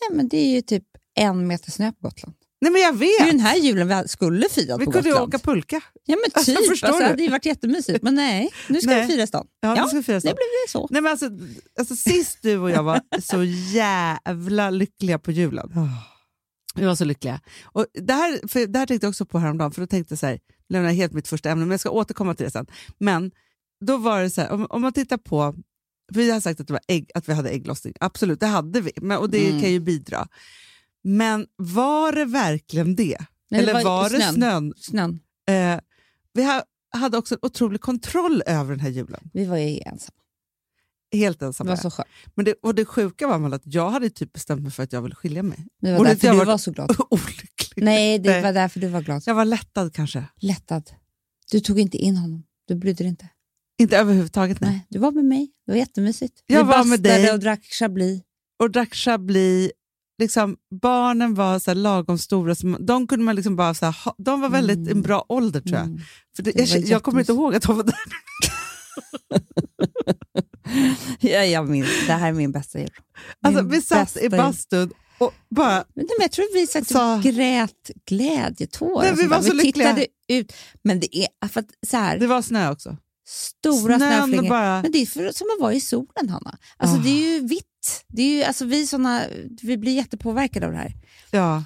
Speaker 2: Nej, men det är ju typ en meter snö på Gotland.
Speaker 3: nej men jag
Speaker 2: Det är ju
Speaker 3: vet!
Speaker 2: den här julen vi skulle fira
Speaker 3: Vi
Speaker 2: på
Speaker 3: kunde ju
Speaker 2: Gotland.
Speaker 3: åka pulka.
Speaker 2: Ja, men
Speaker 3: Alltså,
Speaker 2: typ. Alltså,
Speaker 3: förstår du?
Speaker 2: det hade ju varit jättemysigt, men nej. Nu ska
Speaker 3: Nej.
Speaker 2: vi fira i stan.
Speaker 3: Ja,
Speaker 2: Ja,
Speaker 3: det ska firas
Speaker 2: Det
Speaker 3: då.
Speaker 2: blev det så.
Speaker 3: Nej, men alltså, alltså, sist du och jag var så jävla lyckliga på julen.
Speaker 2: Ah.
Speaker 3: Vi var så lyckliga. Och det, här, för det här tänkte jag också på häromdagen, för då tänkte jag så här, lämna helt mitt första ämne, men jag ska återkomma till det sen. Men då var det så här, om, om man tittar på, för vi har sagt att, det var ägg, att vi hade ägglossning, absolut, det hade vi, men, och det
Speaker 2: Mm.
Speaker 3: kan ju bidra. Men var det verkligen det?
Speaker 2: Nej,
Speaker 3: Eller var, det snön?
Speaker 2: Snön.
Speaker 3: Eh, vi ha, hade också en otrolig kontroll över den här julen,
Speaker 2: Vi var ju ensamma.
Speaker 3: helt
Speaker 2: Det
Speaker 3: ensamma.
Speaker 2: var så skönt.
Speaker 3: Men det, och det sjuka var väl att jag hade typ bestämt mig för att jag ville skilja mig.
Speaker 2: Det var
Speaker 3: Och det-
Speaker 2: därför
Speaker 3: jag
Speaker 2: du
Speaker 3: var-
Speaker 2: var så glad.
Speaker 3: Olycklig.
Speaker 2: Nej, det
Speaker 3: Nej.
Speaker 2: var därför du var glad.
Speaker 3: Jag var lättad kanske.
Speaker 2: Lättad. Du tog inte in honom. Du brydde dig inte.
Speaker 3: Inte överhuvudtaget. Nej.
Speaker 2: Nej, du var med mig. Det var jättemysigt.
Speaker 3: Jag
Speaker 2: vi
Speaker 3: var med
Speaker 2: bastade
Speaker 3: dig.
Speaker 2: och drack chablis.
Speaker 3: Och drack chablis. Liksom, barnen var så här lagom stora. Så man, de, kunde man liksom bara så här, ha, de var väldigt
Speaker 2: Mm.
Speaker 3: en bra ålder tror jag.
Speaker 2: Mm.
Speaker 3: För det,
Speaker 2: Det
Speaker 3: jag,
Speaker 2: var
Speaker 3: jag kommer inte
Speaker 2: jättemysigt.
Speaker 3: ihåg att de var där.
Speaker 2: Ja, jag minns. Det här är min bästa jul.
Speaker 3: Alltså,
Speaker 2: Min
Speaker 3: vi satt
Speaker 2: bästa
Speaker 3: i
Speaker 2: jul.
Speaker 3: bastun och bara...
Speaker 2: Men nej, men jag tror vi satt
Speaker 3: Så-
Speaker 2: och grät glädjetårar.
Speaker 3: Nej,
Speaker 2: och
Speaker 3: vi
Speaker 2: sånt
Speaker 3: var
Speaker 2: där.
Speaker 3: så
Speaker 2: vi
Speaker 3: lyckliga.
Speaker 2: tittade ut. Men det är för att, så här,
Speaker 3: Det var snö också.
Speaker 2: stora
Speaker 3: Snön
Speaker 2: snöflingor.
Speaker 3: bara...
Speaker 2: Men det är för, som att vara i solen, Hanna. Alltså,
Speaker 3: Ah.
Speaker 2: Det är ju vitt. Det är ju, alltså, vi, såna, vi blir jättepåverkade av det här.
Speaker 3: Ja.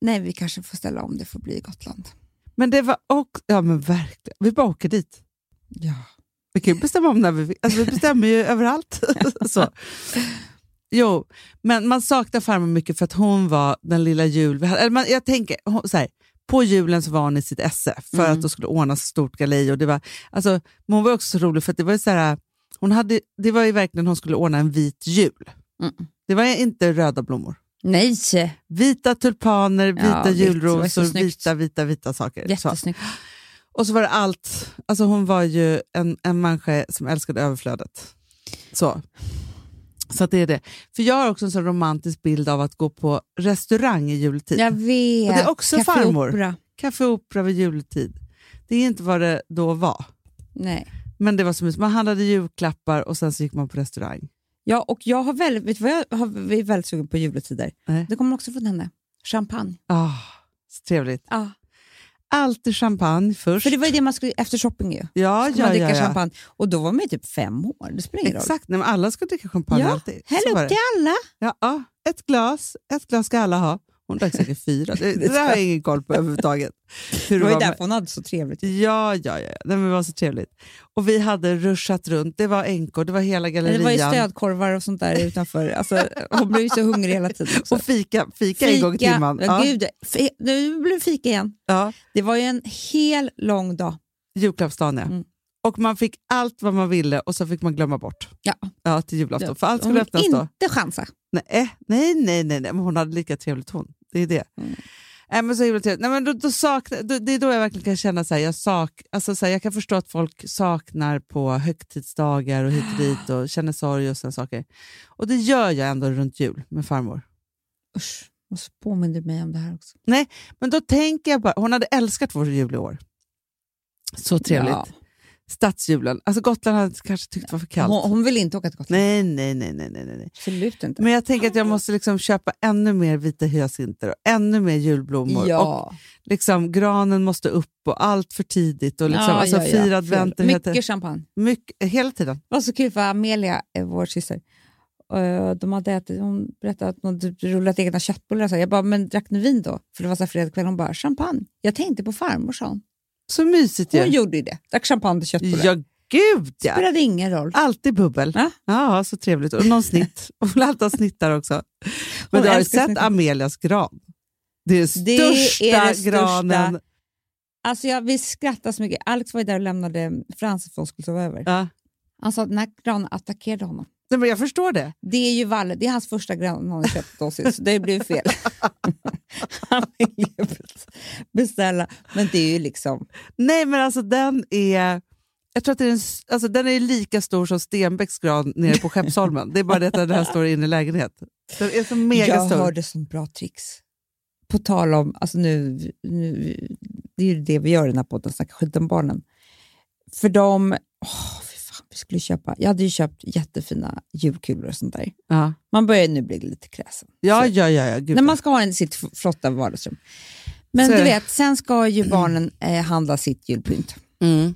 Speaker 2: Nej, vi kanske får ställa om det får bli Gotland.
Speaker 3: Men det var också... Ja, men verkligen. Vi bara åker dit.
Speaker 2: Ja.
Speaker 3: Vi kan ju bestämma om när vi vill. Alltså, vi bestämmer ju överallt. så. Jo, men man saknar farmor mycket för att hon var den lilla jul vi hade. Eller man, jag tänker hon- så här, på julen så var hon i sitt esse för
Speaker 2: Mm.
Speaker 3: att de skulle ordna så stort galej. Och det var, alltså, men hon var också så rolig för att det var ju så här, hon hade, det var ju verkligen hon skulle ordna en vit jul.
Speaker 2: Mm.
Speaker 3: Det var ju inte röda blommor.
Speaker 2: Nej,
Speaker 3: Vita tulpaner, vita
Speaker 2: vitt. Det var
Speaker 3: julrosor,
Speaker 2: så snyggt.
Speaker 3: vita, vita, vita saker. Så.
Speaker 2: jättesnyggt.
Speaker 3: Och så var det allt. Alltså hon var ju en, en människa som älskade överflödet. Så. Så att det är det. För jag har också en sån romantisk bild av att gå på restaurang i jultid.
Speaker 2: Jag vet.
Speaker 3: Och det är också
Speaker 2: Café
Speaker 3: farmor.
Speaker 2: Opera.
Speaker 3: Café Opera vid jultid. Det är inte vad det då var.
Speaker 2: Nej.
Speaker 3: Men det var så mysigt. Man handlade julklappar och sen så gick man på restaurang.
Speaker 2: Ja, och jag har väldigt, vet du vad jag har, vi är väldigt sugen på juletider.
Speaker 3: Nej.
Speaker 2: Det kommer också från henne. Champagne.
Speaker 3: Ah, så trevligt.
Speaker 2: Ja.
Speaker 3: Alltid champagne först.
Speaker 2: För det var ju det man skulle, efter shopping ju.
Speaker 3: ja,
Speaker 2: Man
Speaker 3: ja,
Speaker 2: dricka
Speaker 3: ja, ja.
Speaker 2: champagne. Och då var man ju typ fem år. Det spelar ingen roll.
Speaker 3: Exakt, Nej, men alla ska dricka champagne
Speaker 2: Ja,
Speaker 3: alltid. Så
Speaker 2: Häll
Speaker 3: var
Speaker 2: upp
Speaker 3: det.
Speaker 2: till alla.
Speaker 3: Ja, ja, ett glas. Ett glas ska alla ha. Hon drack säkert fyra. Det, det där har jag ingen koll på överhuvudtaget. Hur
Speaker 2: Det var ju
Speaker 3: med-
Speaker 2: därför hon hade så trevligt.
Speaker 3: Ja, ja, ja. ja. Nej, men det var så trevligt. Och vi hade ruschat runt. Det var änkor, det var hela
Speaker 2: Men
Speaker 3: gallerian.
Speaker 2: Det var ju stödkorvar och sånt där utanför. Alltså, hon blev ju så hungrig hela tiden. Också.
Speaker 3: Och fika, fika, en gång i timmen.
Speaker 2: Ja, Gud, fe- nu blev det fika igen.
Speaker 3: ja.
Speaker 2: Det var ju en hel lång dag.
Speaker 3: Julklappsdagen, ja.
Speaker 2: Mm.
Speaker 3: Och man fick allt vad man ville och så fick man glömma bort.
Speaker 2: Ja.
Speaker 3: Ja, till julafton. För allt
Speaker 2: Hon
Speaker 3: skulle
Speaker 2: vill
Speaker 3: öppnas då.
Speaker 2: inte chansa.
Speaker 3: Nej, eh, nej, nej, nej, nej. Men hon hade lika trevligt hon. Det är det.
Speaker 2: Mm.
Speaker 3: Nej, men så himla trevligt. Nej, men då, då sakna, då, det är då jag verkligen kan känna så här, jag sak, alltså så här, jag kan förstå att folk saknar på högtidsdagar och hit och dit och känner sorg och sådana saker. Och det gör jag ändå runt jul med farmor.
Speaker 2: Usch, och så påminner du mig om det här också.
Speaker 3: Men då tänker jag bara, hon hade älskat vår jul i år. Så trevligt.
Speaker 2: Ja.
Speaker 3: Stadsjulen. Alltså Gotland hade kanske tyckt det var för kallt.
Speaker 2: Hon, hon vill inte åka till Gotland.
Speaker 3: Nej, nej, nej, nej, nej, nej. nej.
Speaker 2: Absolut inte.
Speaker 3: Men jag tänker att jag måste liksom köpa ännu mer vita hyacinter och ännu mer julblommor. Och
Speaker 2: ja.
Speaker 3: liksom, granen måste upp och allt för tidigt. Och liksom,
Speaker 2: ja,
Speaker 3: alltså,
Speaker 2: ja, ja.
Speaker 3: Fyra adventer
Speaker 2: Mycket
Speaker 3: heter,
Speaker 2: champagne.
Speaker 3: mycket, hela tiden.
Speaker 2: Det var så kul för Amelia, eh, vår syster, eh, de hade ätit, hon berättade att hon hade rullat egna köttbullar. och Så här. jag bara, men drack ni vin då? För det var så här fredagkväll. Hon bara, champagne. Jag tänkte på farmor, sa hon.
Speaker 3: Så mysigt
Speaker 2: Hon
Speaker 3: ju.
Speaker 2: gjorde ju det. Drack champagne till köttbullar.
Speaker 3: Ja, gud
Speaker 2: Det
Speaker 3: ja.
Speaker 2: spelade ingen roll.
Speaker 3: Alltid bubbel.
Speaker 2: Ja.
Speaker 3: Ja, så trevligt. Och någon snitt. Hon vill alltid ha snittar också. Men
Speaker 2: Hon
Speaker 3: du har ju
Speaker 2: älskar
Speaker 3: sett
Speaker 2: snittar.
Speaker 3: Amelias gran. Det är den största
Speaker 2: Det är det största.
Speaker 3: granen.
Speaker 2: Alltså jag, vi skrattade så mycket. Alex var ju där och lämnade Frans för hon skulle sova över.
Speaker 3: Ja.
Speaker 2: Han sa Alltså, att den här granen attackerade honom.
Speaker 3: Nej, men jag förstår det.
Speaker 2: Det är ju Valle, det är hans första gran han har köpt åt oss, så det blev fel. han ville ju beställa, men det är ju liksom...
Speaker 3: Nej, men alltså den är... Jag tror att det är en, s- alltså, den är lika stor som Stenbecks gran nere på Skeppsholmen. Det är bara det att den här står inne i lägenhet. Den är så megastor.
Speaker 2: Jag hörde sånt bra tricks. på tal om, alltså nu, nu, det är ju det vi gör i den här podden, snacka skit om barnen. För de, åh, fy fan, vi skulle köpa, jag hade ju köpt jättefina julkulor och sånt där.
Speaker 3: Ja,
Speaker 2: Man börjar ju nu bli lite kräsen.
Speaker 3: ja, ja. ja, ja gud.
Speaker 2: När man ska ha en sitt flotta vardagsrum. Men
Speaker 3: Så är
Speaker 2: du
Speaker 3: det.
Speaker 2: vet, sen ska ju barnen eh, handla sitt julpynt.
Speaker 3: mm.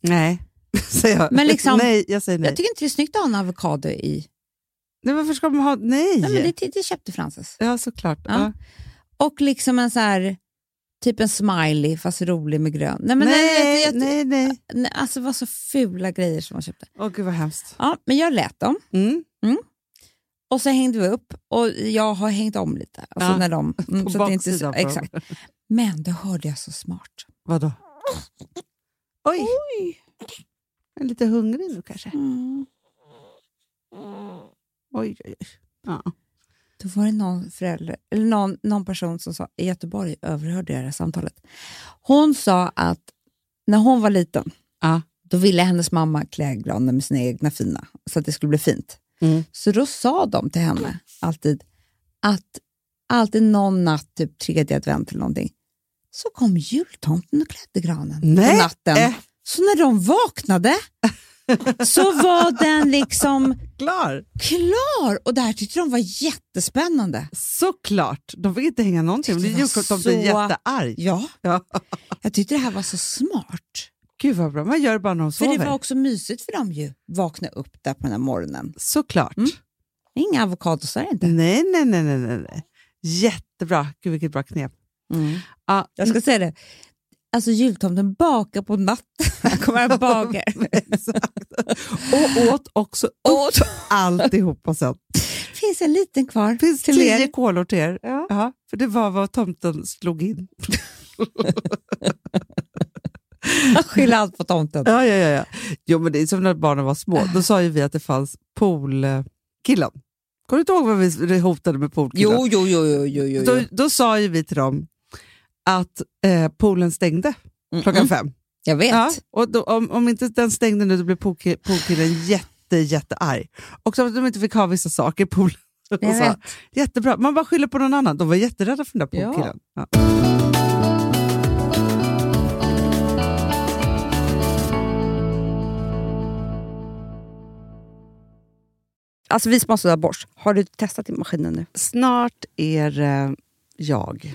Speaker 3: Nej, säger jag.
Speaker 2: Men liksom-
Speaker 3: nej, jag säger nej.
Speaker 2: Jag tycker inte det är snyggt att ha en avokado i.
Speaker 3: nej varför ska man ha... Nej!
Speaker 2: Nej, men det, det köpte Frances.
Speaker 3: Ja, såklart.
Speaker 2: Ja.
Speaker 3: Ja.
Speaker 2: Och liksom en så här, typ en smiley fast rolig med grön. Nej, men
Speaker 3: nej,
Speaker 2: jag, jag,
Speaker 3: nej, nej.
Speaker 2: nej, alltså det var så fula grejer som man köpte.
Speaker 3: Åh, gud vad hemskt.
Speaker 2: Ja, men jag lät dem
Speaker 3: Mm.
Speaker 2: och så hängde vi upp och jag har hängt om lite. Alltså
Speaker 3: Ja,
Speaker 2: när de, mm,
Speaker 3: På
Speaker 2: så att det inte, är så-
Speaker 3: baksidan. på dem.
Speaker 2: exakt. Men då hörde jag så smart.
Speaker 3: Vadå? Oj! Jag är lite hungrig nu kanske.
Speaker 2: Mm.
Speaker 3: Oj, oj, oj. Ja.
Speaker 2: Då var det någon, förälder, eller någon, någon person som sa, i Göteborg överhörde jag det här samtalet. Hon sa att när hon var liten,
Speaker 3: Ja.
Speaker 2: då ville hennes mamma klä granen med sina egna fina, så att det skulle bli fint.
Speaker 3: Mm.
Speaker 2: Så då sa de till henne alltid att alltid någon natt, typ tredje advent eller någonting, så kom jultomten och klädde granen
Speaker 3: Nej.
Speaker 2: på natten.
Speaker 3: Eh.
Speaker 2: Så när de vaknade så var den liksom
Speaker 3: Klar!
Speaker 2: klar och det här tyckte de var jättespännande.
Speaker 3: Såklart! De fick inte hänga någonting. Det
Speaker 2: Det var
Speaker 3: jultomten är
Speaker 2: så-
Speaker 3: jättearg.
Speaker 2: Ja,
Speaker 3: Ja.
Speaker 2: jag tyckte det här var så smart.
Speaker 3: Gud vad bra, man gör det bara när de
Speaker 2: För
Speaker 3: sover.
Speaker 2: det var också mysigt för dem ju, vakna upp där på den här morgonen.
Speaker 3: Såklart.
Speaker 2: Mm. Inga avokadosar inte.
Speaker 3: Nej, nej, nej, nej, nej, nej. Jättebra. Gud vilket bra knep. Ja,
Speaker 2: Jag ska säga det, alltså jultomten bakar på natten. Han kommer att baka.
Speaker 3: exakt. Och åt också upp alltihopa sen.
Speaker 2: Finns en liten kvar
Speaker 3: finns
Speaker 2: till
Speaker 3: tio
Speaker 2: er.
Speaker 3: kolor till er.
Speaker 2: Ja.
Speaker 3: för det var vad tomten slog in.
Speaker 2: Skyll allt på tomten.
Speaker 3: Ja, ja, ja, ja. Jo, men det är som när barnen var små. Då sa ju vi att det fanns poolkillen. Kommer du inte ihåg vad vi hotade med poolkillen?
Speaker 2: Jo, jo, jo, jo, jo, jo.
Speaker 3: Då,
Speaker 2: jo.
Speaker 3: då sa ju vi till dem att eh, poolen stängde klockan fem.
Speaker 2: Jag vet.
Speaker 3: Ja, och då, om, om inte den stängde nu, då blev poolki- poolkillen jätte, jättearg. Och så att de inte fick ha vissa saker i poolen.
Speaker 2: Jag
Speaker 3: Och så,
Speaker 2: vet.
Speaker 3: Jättebra, man bara skyller på någon annan. De var jätterädda för den där
Speaker 2: Ja.
Speaker 3: poolkillen. Ja.
Speaker 4: Alltså vi som har sådär borst, har du testat i maskinen nu?
Speaker 3: snart är det jag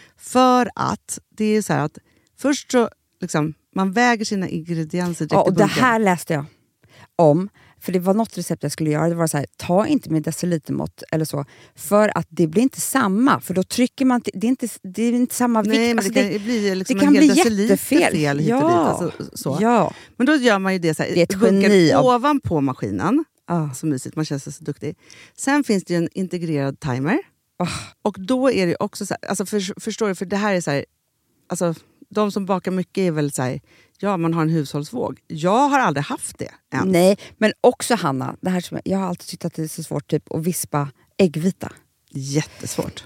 Speaker 3: För att det är så här att först så liksom, man väger sina ingredienser direkt
Speaker 4: Ja, och
Speaker 3: i
Speaker 4: det
Speaker 3: bunken.
Speaker 4: här läste jag om. För det var något recept jag skulle göra. Det var så här, ta inte med decilitermått eller så. För att det blir inte samma. För då trycker man... till- Det är inte, det är inte samma vikt.
Speaker 3: Nej, men
Speaker 4: Alltså,
Speaker 3: det kan ju bli liksom
Speaker 4: det kan
Speaker 3: en hel
Speaker 4: bli
Speaker 3: deciliter
Speaker 4: jättefel.
Speaker 3: fel hit och dit.
Speaker 4: Ja.
Speaker 3: Alltså, så.
Speaker 4: Ja.
Speaker 3: Men då gör man ju det så här,
Speaker 4: Det är ett
Speaker 3: bunkar
Speaker 4: geni av-
Speaker 3: ovanpå maskinen.
Speaker 4: Ah.
Speaker 3: Så mysigt, man känns så duktig. Sen finns det ju en integrerad timer.
Speaker 4: Ah.
Speaker 3: Och då är det ju också så här, alltså för, förstår du, för det här är så här, alltså de som bakar mycket är väl så här, ja man har en hushållsvåg. Jag har aldrig haft det än.
Speaker 4: Nej, men också Hanna, det här som jag, jag har alltid tyckt att det är så svårt typ, att vispa äggvita.
Speaker 3: Jättesvårt.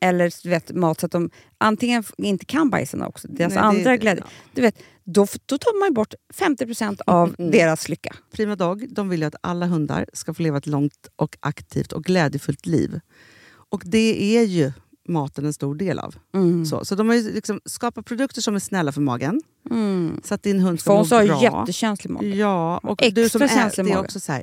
Speaker 2: eller du vet, mat så att de antingen f- inte kan bajsarna också, deras
Speaker 3: Nej, det-
Speaker 2: andra
Speaker 3: det-
Speaker 2: glädje,
Speaker 3: ja.
Speaker 2: du vet, då, f- då tar man ju bort 50%
Speaker 3: Mm,
Speaker 2: av deras lycka.
Speaker 3: Prima Dog de vill ju att alla hundar ska få leva ett långt och aktivt och glädjefullt liv. Och det är ju maten en stor del av.
Speaker 2: Mm.
Speaker 3: Så, så de har ju liksom skapat produkter som är snälla för magen.
Speaker 2: Mm.
Speaker 3: Så att din hund ska må
Speaker 2: Fons har ju
Speaker 3: bra.
Speaker 2: jättekänslig mage.
Speaker 3: Ja, och
Speaker 2: Extra
Speaker 3: du som är,
Speaker 2: känslig
Speaker 3: det är
Speaker 2: mage.
Speaker 3: också så här,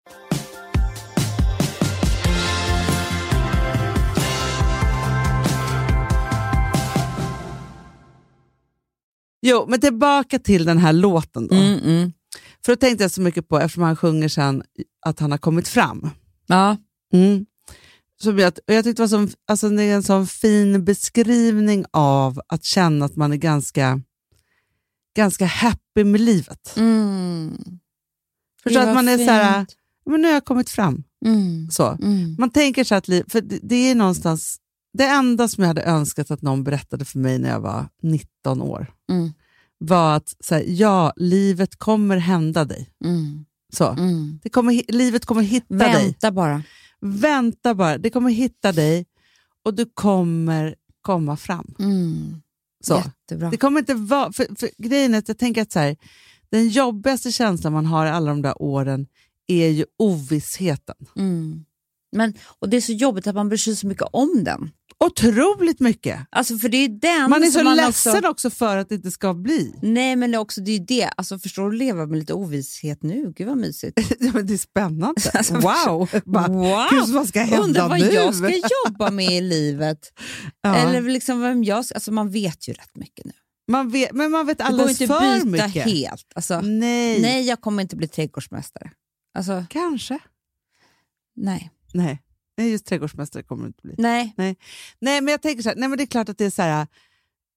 Speaker 3: Jo, men tillbaka till den här låten då.
Speaker 6: Mm, mm.
Speaker 3: För då tänkte jag så mycket på, eftersom han sjunger sen, att han har kommit fram.
Speaker 6: Ja,
Speaker 3: Mm. Som jag, och jag tyckte det var som, alltså det är en sån fin beskrivning av att känna att man är ganska, ganska happy med livet. Förstår
Speaker 6: Det
Speaker 3: att
Speaker 6: var
Speaker 3: man är så här,
Speaker 6: Mm. fint.
Speaker 3: men nu har jag kommit fram.
Speaker 6: Mm,
Speaker 3: Så.
Speaker 6: mm.
Speaker 3: Man tänker så här att liv, för det, det är någonstans det enda som jag hade önskat att någon berättade för mig när jag var 19 år
Speaker 6: Mm.
Speaker 3: var att så här, ja, livet kommer hända dig.
Speaker 6: Mm.
Speaker 3: Så.
Speaker 6: Mm.
Speaker 3: Det kommer, hi- livet kommer hitta dig.
Speaker 2: Vänta bara.
Speaker 3: Vänta bara, det kommer hitta dig och du kommer komma fram.
Speaker 6: Mm.
Speaker 3: Så.
Speaker 6: Jättebra.
Speaker 3: Det kommer inte vara, för, för grejen är att jag tänker att så här, den jobbigaste känslan man har i alla de där åren är ju ovissheten.
Speaker 6: Mm. Men, och det är så jobbigt att man bryr sig så mycket om den.
Speaker 3: Otroligt mycket.
Speaker 6: Alltså, för det är den
Speaker 3: Man är
Speaker 6: som
Speaker 3: så
Speaker 6: man
Speaker 3: ledsen
Speaker 6: Också,
Speaker 3: också... för att det inte ska bli.
Speaker 6: nej, men det är också det är ju det. Alltså, förstår du, leva med lite ovisshet nu. Gud vad mysigt.
Speaker 3: Ja, men det är spännande.
Speaker 6: Alltså,
Speaker 3: wow! Bara,
Speaker 6: Wow!
Speaker 3: Gud, vad ska hända
Speaker 6: Undrar vad
Speaker 3: nu?
Speaker 6: jag ska jobba med i livet.
Speaker 3: Ja.
Speaker 6: Eller liksom vem jag ska, alltså man vet ju rätt mycket nu.
Speaker 3: Man vet, men man vet
Speaker 6: Det går
Speaker 3: alldeles
Speaker 6: inte
Speaker 3: för
Speaker 6: att byta
Speaker 3: mycket.
Speaker 6: helt. Alltså,
Speaker 3: Nej.
Speaker 6: nej, jag kommer inte bli trädgårdsmästare. Alltså,
Speaker 3: Kanske.
Speaker 6: nej.
Speaker 3: Nej. Nej, just trädgårdsmästare kommer det inte bli.
Speaker 6: Nej.
Speaker 3: Nej, men jag tänker så här, nej, men det är klart att det är så här,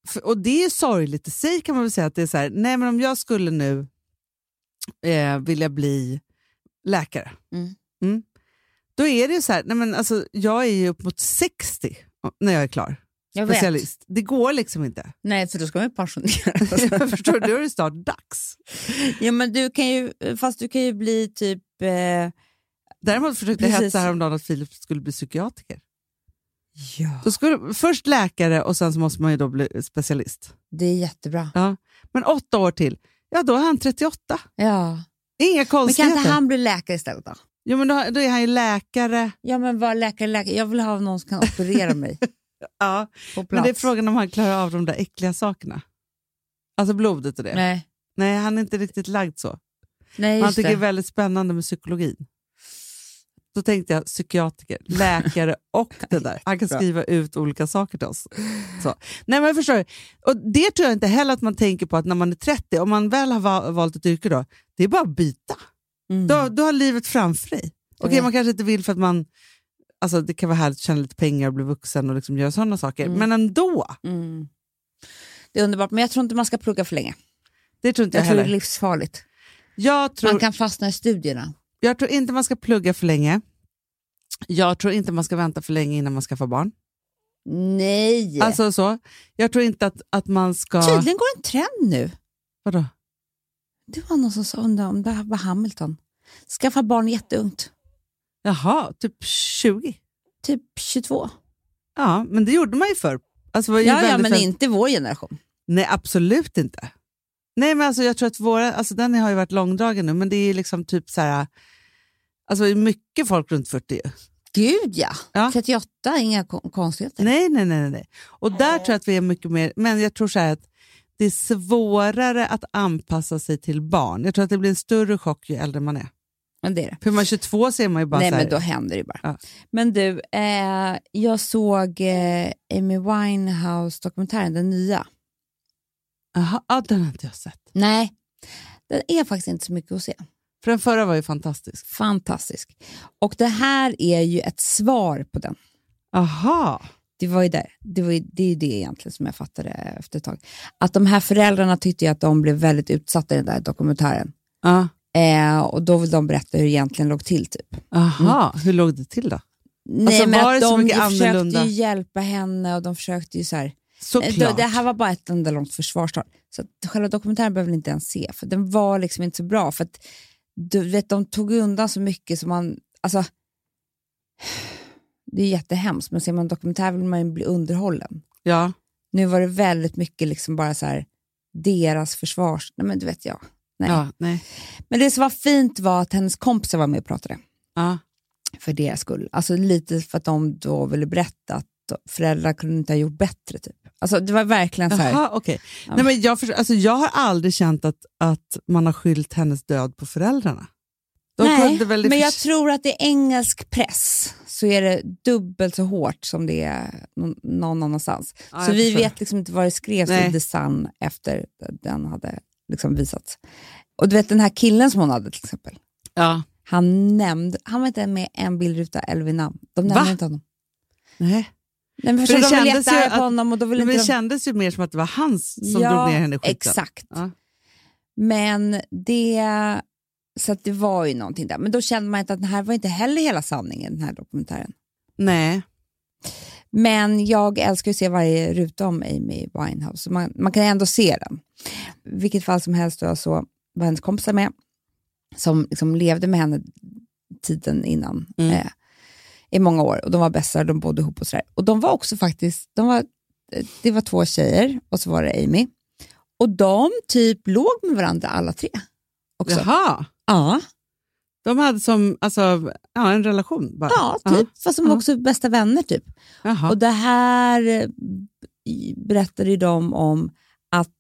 Speaker 3: för, och det är sorgligt i sig kan man väl säga att det är så här, nej men om jag skulle nu eh, vilja bli läkare,
Speaker 6: Mm.
Speaker 3: Då är det ju så här, nej men alltså, jag är ju upp mot 60 när jag är klar.
Speaker 2: Jag vet.
Speaker 3: Specialist. Det går liksom inte.
Speaker 2: Nej, för då ska man ju pensionera
Speaker 3: Jag förstår, då är det snart dags.
Speaker 2: ja, men du kan ju, Fast du kan ju bli typ... Eh,
Speaker 3: Däremot försökte jag
Speaker 2: Precis.
Speaker 3: hetsa häromdagen att Filip skulle bli psykiatriker.
Speaker 2: ja.
Speaker 3: Då skulle, först läkare och sen så måste man ju då bli specialist.
Speaker 2: Det är jättebra.
Speaker 3: Ja. Men åtta år till, ja då är han 38.
Speaker 2: Ja.
Speaker 3: Inga
Speaker 2: Men kan
Speaker 3: konstigheter.
Speaker 2: inte han bli läkare istället då?
Speaker 3: Jo, men då, då är han ju läkare.
Speaker 2: Ja, men var läkare, läkare. Jag vill ha någon som kan operera mig
Speaker 3: Ja.
Speaker 2: på plats.
Speaker 3: Men det är frågan om han klarar av de där äckliga sakerna. Alltså blodet och det. Nej,
Speaker 2: Nej,
Speaker 3: han är inte riktigt lagd så.
Speaker 2: Nej
Speaker 3: Han
Speaker 2: just
Speaker 3: tycker det är
Speaker 2: det.
Speaker 3: väldigt spännande med psykologin. Då tänkte jag psykiatriker, läkare och det där. Han kan skriva ut olika saker till oss. Så. Nej, men förstår du? Och det tror jag inte heller att man tänker på att när man är 30, om man väl har va- valt ett yrke då, det är bara att byta.
Speaker 2: Mm.
Speaker 3: Då, då har livet framför dig. Okej,
Speaker 2: vet.
Speaker 3: man kanske inte vill för att man... Alltså det kan vara härligt att tjäna lite pengar och bli vuxen och liksom göra sådana saker. Men ändå,
Speaker 2: Mm. Det är underbart, men jag tror inte man ska plugga för länge.
Speaker 3: det tror inte jag,
Speaker 2: Jag tror det är
Speaker 3: heller.
Speaker 2: livsfarligt.
Speaker 3: Jag tror,
Speaker 2: Man kan fastna i studierna.
Speaker 3: jag tror inte man ska plugga för länge. Jag tror inte man ska vänta för länge innan man ska få barn.
Speaker 2: Nej!
Speaker 3: Alltså så. Jag tror inte att, att man ska...
Speaker 2: Tydligen går en trend nu.
Speaker 3: Vadå?
Speaker 2: Det var någon som sa undrade om det här var Hamilton. Skaffa barn jätteungt.
Speaker 3: Jaha, typ 20.
Speaker 2: Typ 22.
Speaker 3: Ja, men det gjorde man ju förr. Alltså, det var ju
Speaker 2: Ja, ja
Speaker 3: väldigt
Speaker 2: men
Speaker 3: fem-
Speaker 2: inte vår generation.
Speaker 3: Nej, absolut inte. Nej, men alltså, jag tror att våra, alltså, den har ju varit långdragen nu, men det är ju liksom typ så här... Alltså det är mycket folk runt 40 ju.
Speaker 2: Gud ja!
Speaker 3: Ja.
Speaker 2: 38, inga kon- konstigheter.
Speaker 3: Nej, nej, nej. nej, nej. Och där tror jag att vi är mycket mer... Men jag tror så här att det är svårare att anpassa sig till barn. Jag tror att det blir en större chock ju äldre man är.
Speaker 2: Men det är det.
Speaker 3: För man är 22 ser man ju bara
Speaker 2: Nej,
Speaker 3: så här...
Speaker 2: men då händer det bara.
Speaker 3: Ja.
Speaker 2: Men du, eh, jag såg eh, Amy Winehouse-dokumentären, den nya.
Speaker 3: Aha, ja, den har inte jag sett.
Speaker 2: Nej, den är faktiskt inte så mycket att se.
Speaker 3: För den förra var ju fantastisk.
Speaker 2: Fantastisk. Och det här är ju ett svar på den.
Speaker 3: Aha.
Speaker 2: Det var ju där. Det, var ju, det är ju det egentligen som jag fattade efter ett tag. Att de här föräldrarna tyckte ju att de blev väldigt utsatta i den där dokumentären.
Speaker 3: Ja.
Speaker 2: Eh, och då vill de berätta hur det egentligen låg till typ.
Speaker 3: Aha. Hur låg det
Speaker 2: Eh,
Speaker 3: till då?
Speaker 2: Nej, men
Speaker 3: Alltså, var
Speaker 2: att
Speaker 3: det så
Speaker 2: de,
Speaker 3: mycket
Speaker 2: de försökte
Speaker 3: annorlunda?
Speaker 2: ju hjälpa henne och de försökte ju så här.
Speaker 3: Såklart.
Speaker 2: Eh, Det, det här var bara ett enda långt försvarstal. Så att själva dokumentären behöver ni inte ens se, för den var liksom inte så bra. För att du vet, de tog undan så mycket som man, alltså, det är jättehemskt, men ser man en dokumentär vill man ju bli underhållen.
Speaker 3: Ja.
Speaker 2: Nu var det väldigt mycket liksom bara så här, deras försvars... Nej men du vet jag. Nej.
Speaker 3: Ja, nej.
Speaker 2: Men det som var fint var att hennes kompisar var med och pratade
Speaker 3: Ja.
Speaker 2: för deras skull. Alltså lite för att de då ville berätta att föräldrar kunde inte ha gjort bättre typ. Alltså det var verkligen så här.
Speaker 3: Jaha, okej.
Speaker 2: Ja.
Speaker 3: Nej, men jag, förstår, alltså, jag har aldrig känt att, att man har skyllt hennes död på föräldrarna. De kunde väl
Speaker 2: men jag
Speaker 3: förs-
Speaker 2: tror att i engelsk press så är det dubbelt så hårt som det är nå- någon annanstans.
Speaker 3: Ja,
Speaker 2: så
Speaker 3: jag
Speaker 2: vi
Speaker 3: förstår.
Speaker 2: vet liksom inte vad det skrevs
Speaker 3: Nej.
Speaker 2: i The Sun efter den hade liksom visats. Och du vet den här killen som hon hade till exempel.
Speaker 3: Ja.
Speaker 2: Han nämnde, han var inte med en bildruta eller vid namn. De nämnde
Speaker 3: Va?
Speaker 2: inte honom.
Speaker 3: Nej.
Speaker 2: Nej, men
Speaker 3: För
Speaker 2: förstår,
Speaker 3: det
Speaker 2: de ville
Speaker 3: kändes ju
Speaker 2: jättearga på
Speaker 3: att-
Speaker 2: honom och då ville
Speaker 3: Men
Speaker 2: inte de...
Speaker 3: det kändes ju mer som att det var hans som drog ner henne i skiten.
Speaker 2: Exakt.
Speaker 3: Ja.
Speaker 2: Men det... Så att det var ju någonting där. Men då kände man inte att den här var inte heller hela sanningen, den här dokumentären.
Speaker 3: Nej.
Speaker 2: Men jag älskar att se varje ruta om Amy Winehouse, så man, man kan ändå se den. I vilket fall som helst då så var hennes kompisar med, som liksom levde med henne tiden innan, eh, i många år. Och De var bästar, de bodde ihop och sådär. Och de var också faktiskt, de var, eh, det var två tjejer och så var det Amy. Och de typ låg med varandra alla tre. Också.
Speaker 3: Jaha.
Speaker 2: Ja,
Speaker 3: De hade som alltså, ja, en relation bara.
Speaker 2: ja, typ. Fast de var
Speaker 3: Ja.
Speaker 2: också bästa vänner typ.
Speaker 3: Jaha.
Speaker 2: Och det här eh, i- berättade ju de om att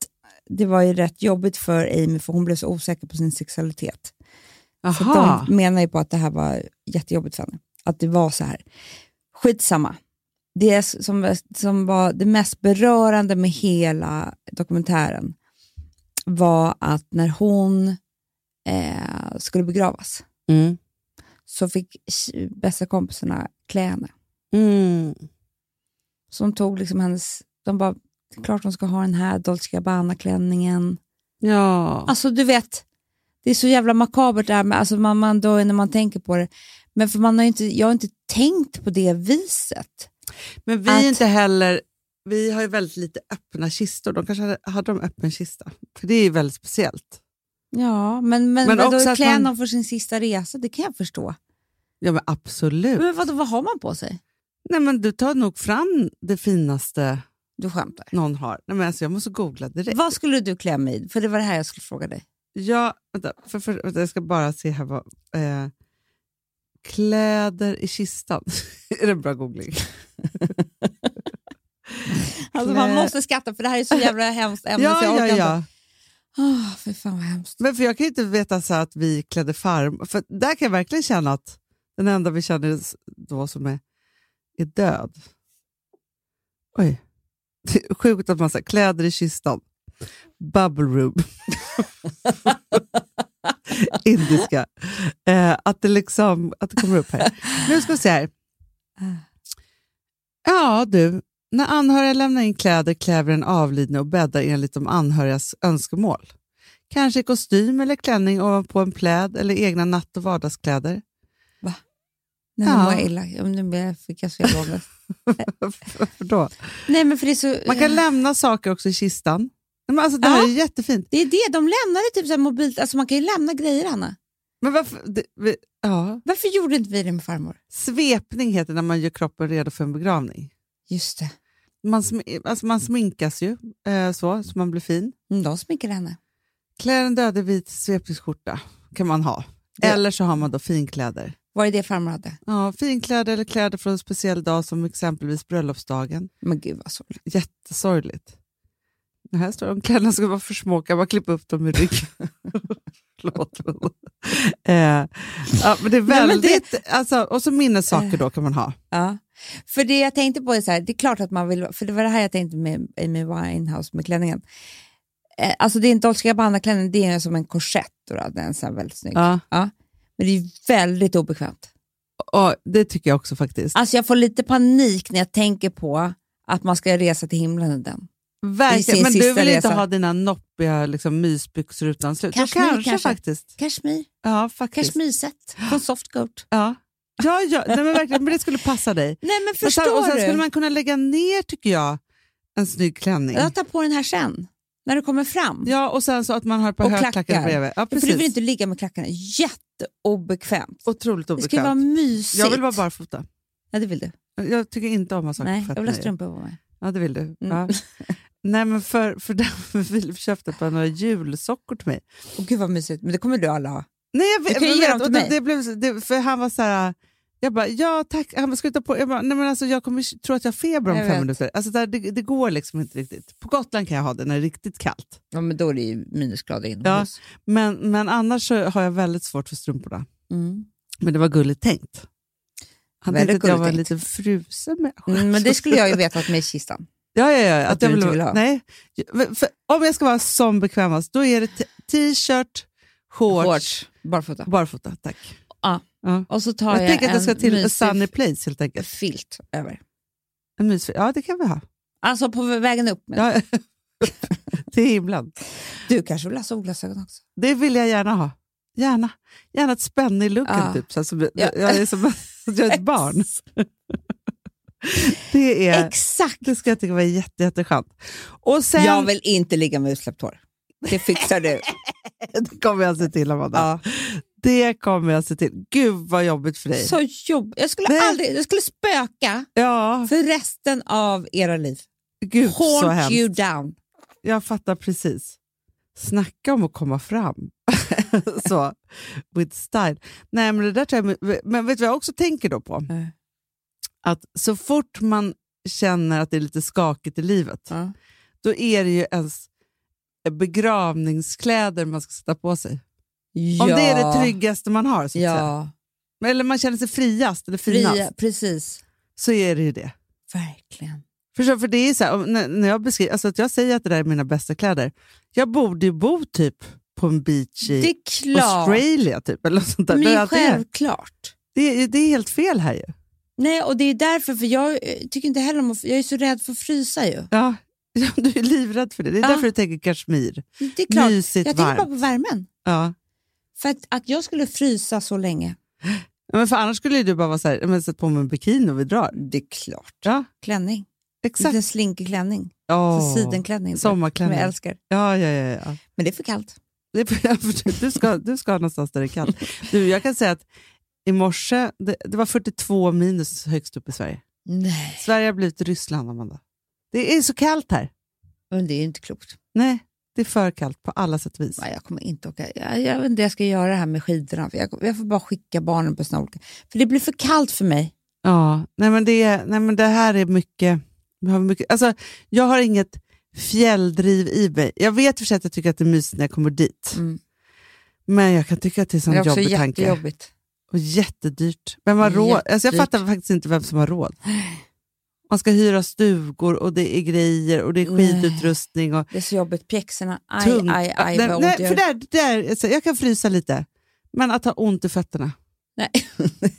Speaker 2: det var ju rätt jobbigt för Amy för hon blev så osäker på sin sexualitet. Så
Speaker 3: Jaha.
Speaker 2: att de menar ju på att det här var jättejobbigt för henne. Att det var så här. Skitsamma. Det som, som var det mest berörande med hela dokumentären var att när hon eh, skulle begravas
Speaker 3: Mm.
Speaker 2: så fick tj- bästa kompisarna klä henne.
Speaker 3: Mm.
Speaker 2: som tog liksom hennes, de bara, det är klart hon ska ha den här Dolce Gabbana-klänningen.
Speaker 3: Ja.
Speaker 2: Alltså du vet, det är så jävla makabert det här med, alltså man, man dör ju när man tänker på det. Men för man har ju inte, jag har inte tänkt på det viset.
Speaker 3: Men vi
Speaker 2: Att-
Speaker 3: är inte heller... Vi har ju väldigt lite öppna kistor. De kanske hade, hade de öppen kista? För det är ju väldigt speciellt.
Speaker 2: Ja, men, men,
Speaker 3: Men
Speaker 2: men
Speaker 3: också
Speaker 2: vadå,
Speaker 3: att
Speaker 2: klä
Speaker 3: man-
Speaker 2: någon för sin sista resa, det kan jag förstå.
Speaker 3: Ja, men absolut.
Speaker 2: Men vadå, vad har man på sig?
Speaker 3: Nej, men du tar nog fram det finaste
Speaker 2: Du skämtar.
Speaker 3: någon har. Nej, men alltså, jag måste googla direkt.
Speaker 2: Vad skulle du klä mig i? För det var det här jag skulle fråga dig.
Speaker 3: Jag, vänta, för, för, vänta, jag ska bara se här vad... Eh, kläder i kistan. är det en bra googling?
Speaker 2: Alltså,
Speaker 3: Klä-
Speaker 2: man måste skratta för det här är så jävla hemskt ämne
Speaker 3: ja,
Speaker 2: så jag
Speaker 3: ja,
Speaker 2: orkar
Speaker 3: ja.
Speaker 2: inte. Oh, för fan vad hemskt.
Speaker 3: Men för jag kan ju inte veta så att vi klädde farm. För där kan jag verkligen känna att den enda vi känner s- då som är, är död. Oj. Det är Sjukt att man säger kläder i kistan. Bubble room. Indiska. Eh, att, det liksom, att det kommer upp här. Nu ska vi se här. Ja, du. När anhöriga lämnar in kläder klär vi den avlidne och bäddar enligt de anhörigas önskemål. Kanske i kostym eller klänning ovanpå en pläd eller egna natt och vardagskläder.
Speaker 2: Nej,
Speaker 3: Ja.
Speaker 2: Nu mår jag illa. Ja, men Nu blir jag- fick jag så jävla ångest.
Speaker 3: Varför då?
Speaker 2: Nej, men för det är så...
Speaker 3: Man kan lämna saker också i kistan. Nej, Men alltså, det här
Speaker 2: Eh. Ja.
Speaker 3: är jättefint.
Speaker 2: Det är det, de lämnade typ så här mobilt. Alltså man kan ju lämna grejer, Anna.
Speaker 3: Men varför, det, vi, ja.
Speaker 2: Varför gjorde inte vi det med farmor?
Speaker 3: Svepning heter när man gör kroppen redo för en begravning.
Speaker 2: Just det.
Speaker 3: Man, sm, alltså, man sminkas ju eh, så, så man blir fin.
Speaker 2: Mm, de smickrade henne.
Speaker 3: Klär en död i vit svepningsskjorta kan man ha.
Speaker 2: Det-
Speaker 3: Eller så har man då finkläder.
Speaker 2: Var det det farmor hade?
Speaker 3: Ja, finkläder eller kläder från en speciell dag som exempelvis bröllopsdagen.
Speaker 2: Men gud vad sorgligt.
Speaker 3: Jättesorgligt. Det här står det om kläderna ska vara för små, kan man klippa upp dem i ryggen? Förlåt. eh, ja, men det
Speaker 2: Nej,
Speaker 3: är
Speaker 2: men
Speaker 3: väldigt...
Speaker 2: det- Eh.
Speaker 3: Alltså, och så minnessaker då kan man ha.
Speaker 2: Ja. För det jag tänkte på är så här, det är klart att man vill, för det var det här jag tänkte med Amy Winehouse med klänningen. Eh, alltså det är en Dolce Gabbana-klänning, det är som en korsett, då, då. den är så här väldigt snygg.
Speaker 3: Ja.
Speaker 2: Men det är ju väldigt obekvämt.
Speaker 3: Och det tycker jag också faktiskt.
Speaker 2: Alltså jag får lite panik när jag tänker på att man ska resa till himlen i den.
Speaker 3: Verkligen.
Speaker 2: sin
Speaker 3: Men du
Speaker 2: sista
Speaker 3: vill inte
Speaker 2: resa.
Speaker 3: ha dina noppiga liksom, mysbyxor utan slut?
Speaker 2: Kashmir
Speaker 3: Ja, kanske,
Speaker 2: kanske.
Speaker 3: faktiskt.
Speaker 2: Kashmir,
Speaker 3: Ja, faktiskt.
Speaker 2: kashmirset från Softgoat.
Speaker 3: Ja. Ja, ja. Nej, men verkligen. Men det skulle passa dig.
Speaker 2: Nej men
Speaker 3: Och sen,
Speaker 2: förstår
Speaker 3: och sen
Speaker 2: du?
Speaker 3: skulle man kunna lägga ner, tycker jag, en snygg klänning.
Speaker 2: Jag tar på den här sen, när du kommer fram.
Speaker 3: Ja, och sen så att man har ett par
Speaker 2: Och
Speaker 3: högklackat
Speaker 2: klackar.
Speaker 3: bredvid. Ja,
Speaker 2: för du
Speaker 3: precis.
Speaker 2: vill inte ligga med klackarna. Jätteobekvämt.
Speaker 3: Otroligt
Speaker 2: Det ska ju vara
Speaker 3: obekvämt.
Speaker 2: mysigt.
Speaker 3: Jag vill vara barfota.
Speaker 2: Ja, det vill du.
Speaker 3: Jag tycker inte om att ha saker
Speaker 2: Nej,
Speaker 3: på
Speaker 2: jag vill ha Mm.
Speaker 3: fötterna.
Speaker 2: strumpor på mig.
Speaker 3: Ja, det vill du. Ja. Nej, men för, för den Filip köpte på några julsockor till mig.
Speaker 2: Och gud vad mysigt, men det kommer du alla ha.
Speaker 3: Nej, jag
Speaker 2: Du
Speaker 3: vet,
Speaker 2: kan ju
Speaker 3: jag
Speaker 2: ge
Speaker 3: vet,
Speaker 2: dem till
Speaker 3: och det,
Speaker 2: mig.
Speaker 3: det blev, det, för han var så här, jag bara, ja tack, han bara, ska du ta på? Jag bara, nej men alltså jag kommer tro att jag har feber om
Speaker 2: Jag
Speaker 3: fem
Speaker 2: vet.
Speaker 3: minuter. Alltså där, det, det går liksom inte riktigt. På Gotland kan jag ha det när det är riktigt kallt.
Speaker 2: Ja, men då är det ju minusgrader inomhus.
Speaker 3: Men, men annars så har jag väldigt svårt för strumporna.
Speaker 2: Mm.
Speaker 3: Men det var gulligt tänkt. Han
Speaker 2: Väldigt
Speaker 3: tänkte att jag var
Speaker 2: gulligt
Speaker 3: lite frusen med.
Speaker 2: Mm, men det skulle jag ju vetat med i kistan.
Speaker 3: Ja, ja, ja. Att
Speaker 2: du inte vill
Speaker 3: vara-
Speaker 2: ha.
Speaker 3: Nej. Men För, om jag ska vara som bekvämast, då är det t- t-shirt, shorts,
Speaker 2: Shorts, barfota.
Speaker 3: barfota. Tack.
Speaker 2: Och så tar
Speaker 3: Jag,
Speaker 2: jag,
Speaker 3: tänker att jag ska
Speaker 2: en
Speaker 3: till a
Speaker 2: mysig
Speaker 3: sunny place helt enkelt.
Speaker 2: filt över.
Speaker 3: En mysfri- Ja, det kan vi ha.
Speaker 2: Alltså på vägen upp. Men
Speaker 3: Ja. till himlen.
Speaker 2: Du kanske vill ha solglasögon också?
Speaker 3: Det vill jag gärna ha. Gärna. Gärna ett spänne i looken,
Speaker 2: Ja.
Speaker 3: typ. Så att som,
Speaker 2: Ja.
Speaker 3: Jag är som att jag är ett barn. det, är,
Speaker 2: Exakt!
Speaker 3: det ska jag tycka var jätte, jätteskönt. Och sen
Speaker 2: Jag vill inte ligga med utsläppt hår. Det fixar du.
Speaker 3: det kommer jag se till, Amanda.
Speaker 2: Ja.
Speaker 3: Det kommer jag se till. Gud vad jobbigt för dig.
Speaker 2: Så jobbigt. Jag skulle
Speaker 3: Nej.
Speaker 2: aldrig, jag skulle spöka
Speaker 3: Ja,
Speaker 2: för resten av era liv.
Speaker 3: gud så
Speaker 2: Haunt
Speaker 3: hemskt.
Speaker 2: you down.
Speaker 3: Jag fattar precis. Snacka om att komma fram. så, with style. Nej, men det där tror jag, men vet du vad jag också tänker då på?
Speaker 2: Nej.
Speaker 3: Att så fort man känner att det är lite skakigt i livet,
Speaker 2: Ja.
Speaker 3: då är det ju ens begravningskläder man ska sätta på sig. Om det är det tryggaste man har, så att säga.
Speaker 2: Ja,
Speaker 3: eller man känner sig friast eller finast,
Speaker 2: fria, precis.
Speaker 3: så är det ju det.
Speaker 2: Verkligen.
Speaker 3: Förstår, för det är så här, om- när, när jag, beskriver, alltså att jag säger att det där är mina bästa kläder. Jag borde ju bo typ på en beach
Speaker 2: Det
Speaker 3: i
Speaker 2: är klart.
Speaker 3: Australien. Typ, eller något sånt där.
Speaker 2: Men
Speaker 3: Det,
Speaker 2: det
Speaker 3: är
Speaker 2: är
Speaker 3: alltid det.
Speaker 2: självklart.
Speaker 3: Det, är, det är helt fel här ju.
Speaker 2: Nej, och det är därför, för jag eh, tycker inte heller om att, jag är så rädd för att frysa ju.
Speaker 3: Ja, ja, du är livrädd för det. Det är
Speaker 2: Ja.
Speaker 3: därför du tänker Kashmir.
Speaker 2: Det är klart.
Speaker 3: Mysigt
Speaker 2: jag tänker bara
Speaker 3: varmt.
Speaker 2: på värmen.
Speaker 3: Ja.
Speaker 2: För att, att jag skulle frysa så länge.
Speaker 3: Ja, Men för annars skulle ju du bara vara så här, "Ja, men sätt på mig en bikini och vi drar.
Speaker 2: Det är klart.
Speaker 3: Ja,
Speaker 2: Klänning.
Speaker 3: exakt.
Speaker 2: Liten slinkig klänning.
Speaker 3: Oh.
Speaker 2: Så sidenklänning. Som
Speaker 3: Sommarklänning.
Speaker 2: jag älskar.
Speaker 3: Ja, ja, ja. ja.
Speaker 2: Men det är för kallt.
Speaker 3: Det är för- Du ska, du ska någonstans där det är kallt. Du, jag kan säga att i morse, det, det var 42 minus högst upp i Sverige.
Speaker 2: Nej.
Speaker 3: Sverige har blivit Ryssland, Amanda. Det är så kallt här.
Speaker 2: Men det är ju inte klokt.
Speaker 3: Nej, det är för kallt på alla sätt och vis.
Speaker 2: Nej, jag kommer inte åka. Jag, jag vet inte vad jag ska göra här med skidorna. Jag, jag får bara skicka barnen på sina olika... För det blir för kallt för mig.
Speaker 3: Ja, nej men det, är- nej men det här är mycket... Vi har mycket alltså, jag har inget fjälldriv i mig. Jag vet för sig att jag tycker att det är mysigt när jag kommer dit.
Speaker 2: Mm.
Speaker 3: Men jag kan tycka att det är en sån
Speaker 2: det är också
Speaker 3: jobbig tanke.
Speaker 2: jättejobbigt.
Speaker 3: Och jättedyrt. Vem har råd? Alltså, jag
Speaker 2: Jättedyrt.
Speaker 3: fattar faktiskt inte vem som har råd. Man ska hyra stugor och det är grejer och det är
Speaker 2: Nej.
Speaker 3: skidutrustning. Och
Speaker 2: Det är så jobbigt. Pjäxorna. Aj,
Speaker 3: tungt.
Speaker 2: aj, aj.
Speaker 3: nej,
Speaker 2: vad ont
Speaker 3: nej,
Speaker 2: det
Speaker 3: för
Speaker 2: gör.
Speaker 3: där, där, alltså, jag kan frysa lite, men att ha ont i fötterna,
Speaker 2: Nej.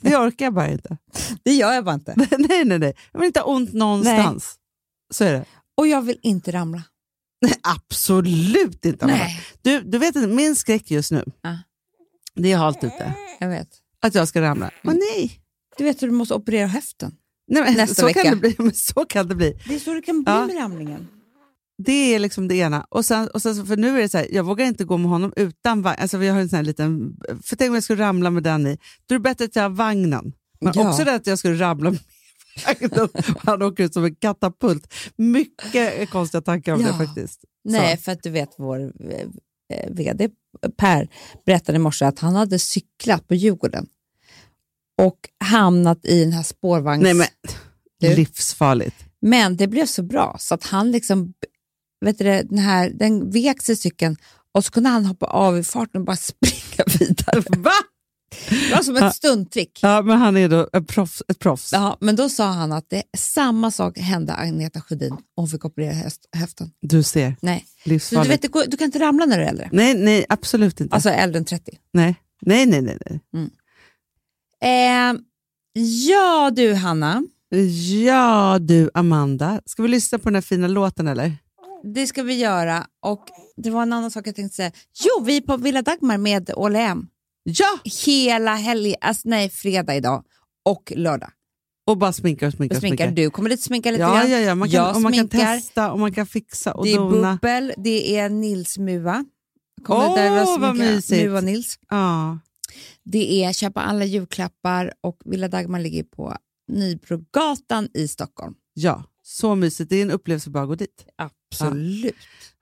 Speaker 3: det orkar jag bara inte.
Speaker 2: det gör jag bara inte.
Speaker 3: nej, nej, nej. Jag vill inte ha ont någonstans. Så är det.
Speaker 2: Och jag vill inte ramla.
Speaker 3: Nej, absolut inte. Amanda.
Speaker 2: Nej,
Speaker 3: Du, du vet inte, min skräck just nu,
Speaker 2: Ja.
Speaker 3: det är halt ute.
Speaker 2: jag vet.
Speaker 3: Att jag ska ramla. Åh nej!
Speaker 2: Du vet hur du måste operera höften.
Speaker 3: nej men,
Speaker 2: Mm. Nästa
Speaker 3: så Kan
Speaker 2: vecka.
Speaker 3: det bli, men så kan det bli.
Speaker 2: Det är så det kan bli
Speaker 3: Ja.
Speaker 2: med ramlingen.
Speaker 3: Det är liksom det ena. Och sen, och sen, för nu är det så här, jag vågar inte gå med honom utan vagn. Alltså, vi har en sån här liten, för tänk om jag skulle ramla med den i. Då är det bättre att jag har vagnen. Men
Speaker 2: Ja.
Speaker 3: också det att jag skulle ramla med vagnen. Han åker ut som en katapult. Mycket konstiga tankar om
Speaker 2: Ja.
Speaker 3: det faktiskt.
Speaker 2: Nej, för att du vet vår eh, eh, vd Per berättade i morse att han hade cyklat på Djurgården och hamnat i den här spårvagns...
Speaker 3: Nej, men,
Speaker 2: Du.
Speaker 3: livsfarligt.
Speaker 2: Men det blev så bra så att han liksom, vet du det, den, här, den vek sig cykeln och så kunde han hoppa av i farten och bara springa vidare.
Speaker 3: Va?
Speaker 2: Det var som
Speaker 3: Ja.
Speaker 2: ett stunttrick.
Speaker 3: Ja, men han är då ett proffs. Ett proffs.
Speaker 2: Ja, men då sa han att det, samma sak hände Agneta Sjödin. Hon fick operera höst, höften.
Speaker 3: Du ser,
Speaker 2: Nej. Så du,
Speaker 3: livsfarligt.
Speaker 2: vet, det går, du kan inte ramla när du är äldre.
Speaker 3: Nej, nej, absolut inte.
Speaker 2: Alltså äldre än 30.
Speaker 3: nej. Nej, nej, nej, nej.
Speaker 2: Eh, ja du Hanna,
Speaker 3: Ja du, Amanda. Ska vi lyssna på den här fina låten eller?
Speaker 2: det ska vi göra. Och det var en annan sak jag tänkte säga. Jo, vi är på Villa Dagmar med Åhle M.
Speaker 3: Ja!
Speaker 2: Hela helgen, alltså nej, fredag idag och lördag.
Speaker 3: Och bara sminkar och sminkar.
Speaker 2: Då
Speaker 3: och
Speaker 2: sminkar
Speaker 3: sminkar.
Speaker 2: du, kommer dit sminka lite
Speaker 3: Ja,
Speaker 2: grann.
Speaker 3: ja, ja. Man kan,
Speaker 2: Jag
Speaker 3: och man kan
Speaker 2: sminkar.
Speaker 3: testa och man kan fixa och
Speaker 2: det är
Speaker 3: dona.
Speaker 2: bubbel, det är Nils Mua. Kommer
Speaker 3: Åh,
Speaker 2: där och
Speaker 3: vad
Speaker 2: sminka
Speaker 3: mysigt.
Speaker 2: Mua Nils.
Speaker 3: Ja.
Speaker 2: Det är köpa alla julklappar och Villa Dagmar ligger på Nybrogatan i Stockholm.
Speaker 3: ja, så mysigt. Det är en upplevelse bara att gå dit.
Speaker 2: Absolut.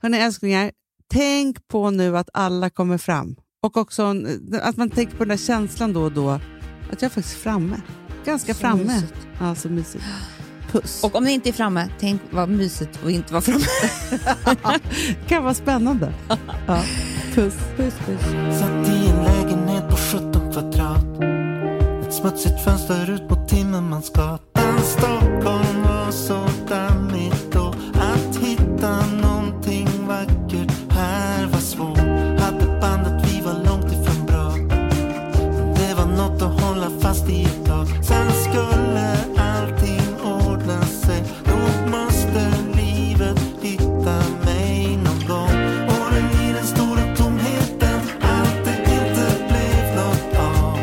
Speaker 3: Hörni älsklingar, tänk på nu att alla kommer fram. Och också en, att man tänker på den där känslan då och då. Att jag är faktiskt framme. Ganska
Speaker 2: Så
Speaker 3: framme.
Speaker 2: mysigt.
Speaker 3: Ja, så mysigt. Puss.
Speaker 2: Och om ni inte är framme, tänk vad mysigt att inte vara framme.
Speaker 3: kan vara spännande. Ja. Puss.
Speaker 5: Satt i en lägenhet på 17 kvadrat Ett smutsigt fönster ut mot Timmermansgatan Stockholm var så dammigt och att hitta någonting vackert här var svårt Hade bandet, vi var långt ifrån bra Men det var något att hålla fast i ett tag Sen skulle allting ordna sig Nog måste livet hitta mig någon gång Åren i den stora tomheten Allt det inte blev något av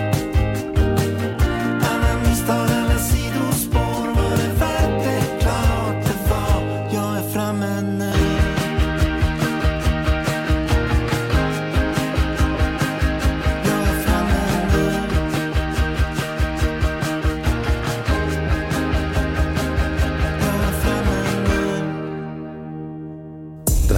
Speaker 5: alla misstag, alla sidospår Var det värt det? Klart det var Jag är framme nu Jag är framme nu Jag är framme nu
Speaker 7: Den